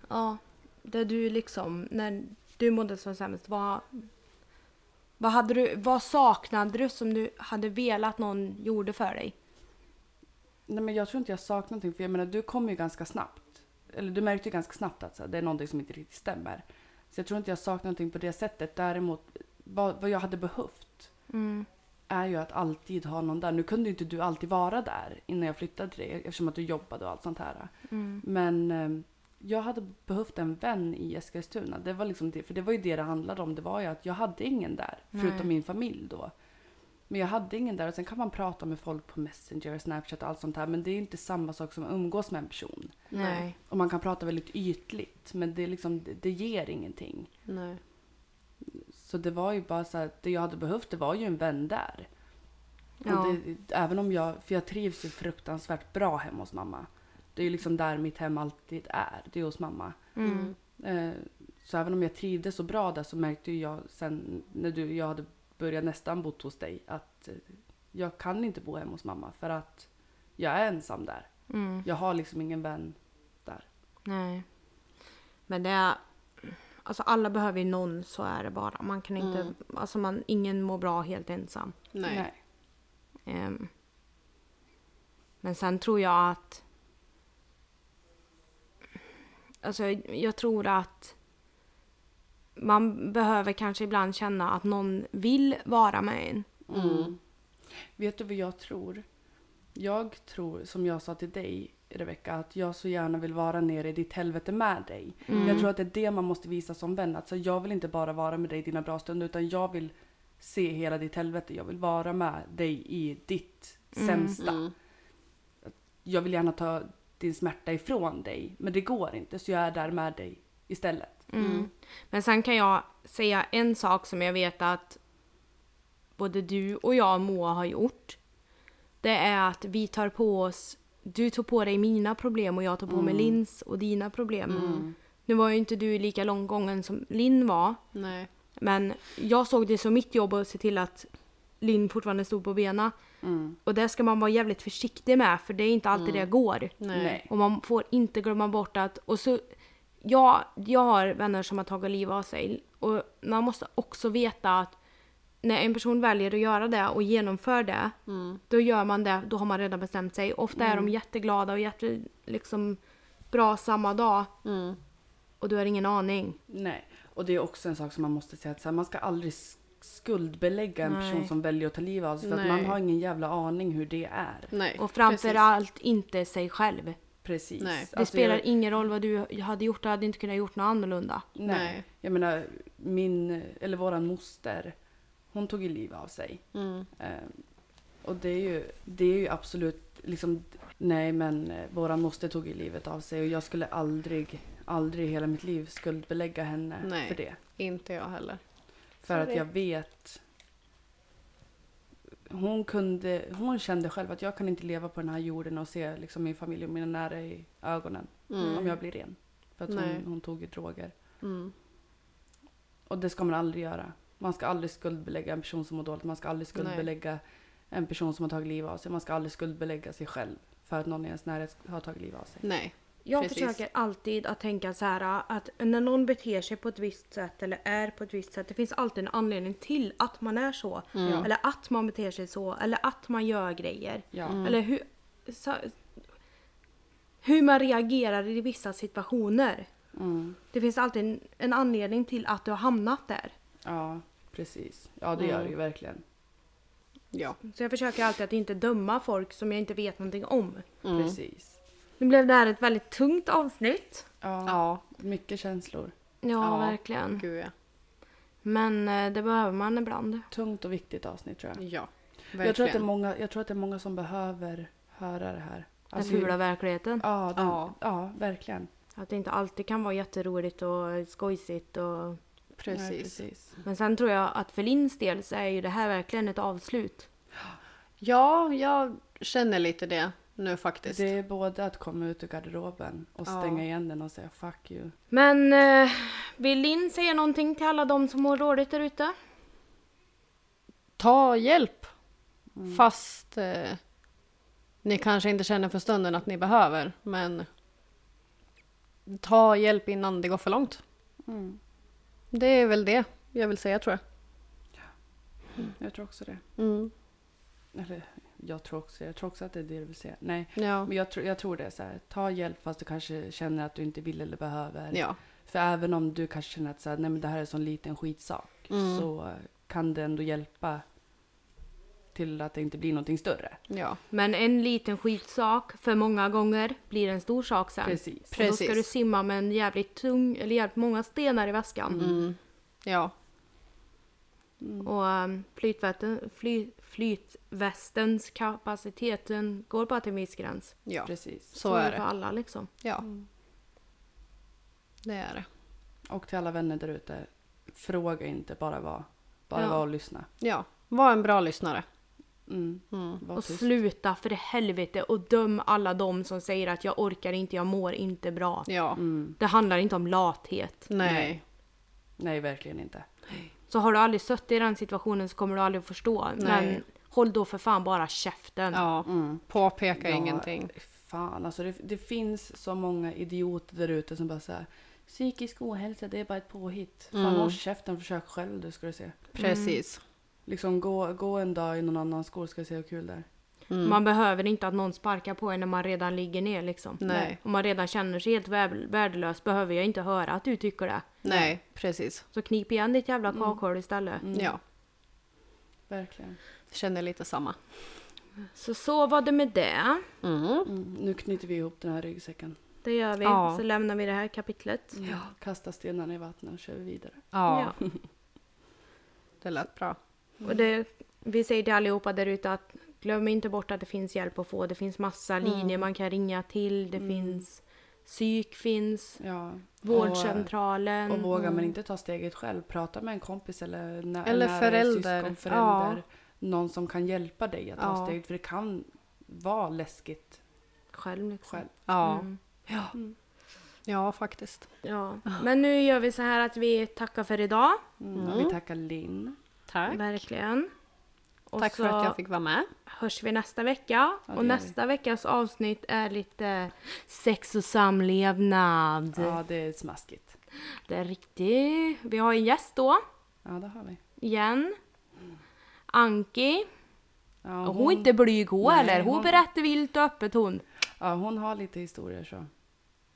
Ja, där du liksom, när du mådde som sämst, vad, vad, hade du, vad saknade du som du hade velat någon gjorde för dig?
Nej men jag tror inte jag saknar någonting för jag menar du kom ju ganska snabbt. Eller du märkte ju ganska snabbt att så här, det är någonting som inte riktigt stämmer. Så jag tror inte jag saknar någonting på det sättet. Däremot vad, vad jag hade behövt
Mm.
är ju att alltid ha någon där. Nu kunde ju inte du alltid vara där innan jag flyttade till dig eftersom att du jobbade och allt sånt här.
Mm.
Men eh, jag hade behövt en vän i Eskilstuna. Det var liksom det, för det var ju det det handlade om. Det var ju att jag hade ingen där,
Nej.
förutom min familj då. Men jag hade ingen där och sen kan man prata med folk på Messenger, Snapchat och allt sånt här. Men det är inte samma sak som att umgås med en person.
Nej.
Och man kan prata väldigt ytligt men det, är liksom, det, det ger ingenting.
Nej.
Så det var ju bara så här, det jag hade behövt det var ju en vän där.
Ja.
Och det, även om jag, för jag trivs ju fruktansvärt bra hemma hos mamma. Det är ju liksom där mitt hem alltid är, det är hos mamma.
Mm.
Eh, Så även om jag trivdes så bra där så märkte ju jag sen när du och jag hade börjat nästan bott hos dig att eh, jag kan inte bo hemma hos mamma för att jag är ensam där.
Mm.
Jag har liksom ingen vän där.
Nej. Men det är... Alltså alla behöver ju någon, så är det bara. Man kan inte...
Mm.
Alltså man, ingen mår bra helt ensam.
Nej.
Ehm. men sen tror jag att... Alltså jag tror att man behöver kanske ibland känna att någon vill vara med en.
Mm. Vet du vad jag tror? Jag tror, som jag sa till dig Rebecka, att jag så gärna vill vara nere i ditt helvete med dig.
Mm.
Jag tror att det är det man måste visa som vän. Alltså, jag vill inte bara vara med dig i dina bra stunder utan jag vill se hela ditt helvete. Jag vill vara med dig i ditt sämsta.
Mm.
Jag vill gärna ta din smärta ifrån dig men det går inte så jag är där med dig istället.
Mm. Men sen kan jag säga en sak som jag vet att både du och jag och Moa har gjort. Det är att vi tar på oss, du tog på dig mina problem och jag tog på mig Lins och dina problem. Nu var ju inte du lika långt gången som Linn var.
Nej.
Men jag såg det som mitt jobb att se till att Linn fortfarande stod på benen. Och det ska man vara jävligt försiktig med för det är inte alltid det går.
Nej.
Nej.
Och man får inte glömma bort att... Och så, ja, jag har vänner som har tagit livet av sig. Och man måste också veta att när en person väljer att göra det och genomför det, då gör man det, då har man redan bestämt sig. Ofta är de jätteglada och jätte, liksom, bra samma dag
Mm.
och du har ingen aning.
Nej, och det är också en sak som man måste säga att så här, man ska aldrig sk- skuldbelägga en
Nej.
person som väljer att ta livet av sig för att
Nej.
man har ingen jävla aning hur det är.
Nej.
Och
Eh, Precis.
framförallt inte sig själv. Det
Precis.
Nej.
Alltså, jag-
spelar ingen roll vad du hade gjort, du hade inte kunnat gjort något annorlunda.
Nej.
Nej.
Jag menar, min, eller våran moster, hon tog ju livet av sig.
Mm.
Eh, och det är ju, det är ju absolut liksom, nej men eh, våran moster tog ju livet av sig och jag skulle aldrig, aldrig i hela mitt liv skuldbelägga henne
Nej.
för det.
Inte jag heller.
För
Sorry.
att jag vet. Hon, kunde, hon kände själv att jag kan inte leva på den här jorden och se liksom min familj och mina nära i ögonen
Mm.
om jag blir ren. För att
Nej.
hon, hon tog ju droger.
Mm.
Och det ska man aldrig göra. Man ska aldrig skuldbelägga en person som mår dåligt. Man ska aldrig
Nej.
skuldbelägga en person som har tagit livet av sig. Man ska aldrig skuldbelägga sig själv för att någon i ens närhet har tagit livet av sig.
Nej.
Jag
Precis.
försöker alltid att tänka så här att när någon beter sig på ett visst sätt eller är på ett visst sätt. Det finns alltid en anledning till att man är så.
Ja.
Eller att man beter sig så. Eller att man gör grejer.
Ja.
Mm.
Mm.
Eller hur, så, hur man reagerar i vissa situationer.
Mm.
Det finns alltid en, en anledning till att du har hamnat där.
ja, precis. Ja, det
Mm.
gör det ju verkligen.
Ja.
Så jag försöker alltid att inte döma folk som jag inte vet någonting om.
Mm.
Precis.
Nu blev det här ett väldigt tungt avsnitt.
Ja.
Ja.
Mycket känslor.
Ja,
Ja.
verkligen.
Gud ja.
Men eh, det behöver man ibland.
Tungt och viktigt avsnitt tror jag.
Ja.
Jag tror, att det är
Verkligen.
många, jag tror att det är många som behöver höra det här.
Den
Alltså,
fula verkligheten.
ja, den,
Ja.
ja. verkligen.
Att det inte alltid kan vara jätteroligt och skojsigt. Och...
Precis.
Nej, precis.
Men sen tror jag att för Linns del så är ju det här verkligen ett avslut.
Ja, jag känner lite det nu faktiskt.
Det är både att komma ut ur garderoben och
Ja.
stänga igen den och säga fuck you.
Men eh, vill Linn säga någonting till alla de som mår dåligt där ute?
Ta hjälp!
Mm.
Fast eh, ni kanske inte känner för stunden att ni behöver, men ta hjälp innan det går för långt.
Mm.
Det är väl det jag vill säga tror
Jag tror också det.
jag. Mm.
Eller jag tror också Jag tror också att det är det du vill säga. Nej,
Ja.
men jag, tror- jag tror det. är Så här, ta hjälp fast du kanske känner att du inte vill eller behöver.
ja.
För även om du kanske känner att så här, nej, men det här är en sån liten skitsak.
Mm.
Så kan det ändå hjälpa till att det inte blir någonting större.
Ja.
Men en liten skitsak för många gånger blir en stor sak sen.
Precis.
Och Då
Precis.
ska du simma med en jävligt tung, eller jävligt många stenar i väskan.
Mm. Ja.
Och um, flytvätten, fly, flytvästens kapaciteten går bara till en viss gräns.
Ja.
Precis.
Så är
för
det.
alla liksom.
Ja. Det är det.
Och till alla vänner där ute. Fråga inte, bara var. Bara
Ja.
var och lyssna.
Ja. Var en bra lyssnare.
Mm.
Mm.
Var
och
tyst.
sluta för helvete och döm alla de som säger att jag orkar inte, jag mår inte bra.
Ja.
Mm.
Det handlar inte om lathet.
Nej.
Nej, verkligen inte.
Så har du aldrig suttit i den situationen så kommer du aldrig förstå. Men håll då för fan bara käften.
Ja.
Mm.
Påpeka
Ja,
ingenting.
Fan, alltså det, det finns så många idioter där ute som bara säger Psykisk ohälsa, det är bara ett påhitt. Fan,
Mm.
håll käften, försök själv du ska du se.
Precis.
Liksom gå, gå en dag i någon annans skor ska du se hur kul det är.
Mm.
Man behöver inte att någon sparkar på en när man redan ligger ner liksom.
Nej.
Om man redan känner sig helt vär- värdelös behöver jag inte höra att du tycker det.
Nej. Precis.
Så knip igen ditt jävla kakhål istället.
Mm.
Ja.
Verkligen.
Känner lite samma.
Så så var det med det.
Mm.
Mm. Nu knyter vi ihop den här ryggsäcken.
Det gör vi.
Ja.
Så lämnar vi det här kapitlet.
Kasta stenarna i vattnet och kör vi vidare.
Ja. Det lät bra.
Och det, vi säger till allihopa där ute att glöm inte bort att det finns hjälp att få. Det finns massa linjer man kan ringa till. Det finns psyk finns,
Ja.
vårdcentralen.
Och, och vågar man inte ta steget själv, prata med en kompis eller, nä-
mm. Eller
nära
förälder.
syskon, förälder. Någon som kan hjälpa dig att ta
Ja.
steget. För det kan vara läskigt
själv. Liksom.
själv.
Ja.
Mm.
Ja. ja, faktiskt.
Ja. Men nu gör vi så här att vi tackar för idag.
Mm.
Ja, Vi tackar Linn.
Tack.
Verkligen. Och
Tack
så
för att jag fick vara med.
hörs vi nästa vecka.
Ja, det
och
gör
nästa veckas avsnitt är lite sex och samlevnad.
Ja, det är smaskigt.
Det är riktigt. Vi har en gäst då.
Ja, det har vi.
Igen. Anki.
Ja,
Och hon är inte blyg hon
Nej,
eller? Hon
hon-
berättar vilt och öppet hon.
ja, hon har lite historier så.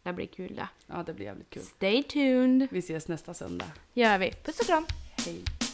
Det blir kul det.
Ja, det blir jävligt kul.
Stay tuned.
Vi ses nästa söndag.
Gör vi. Puss och kram.
Hej.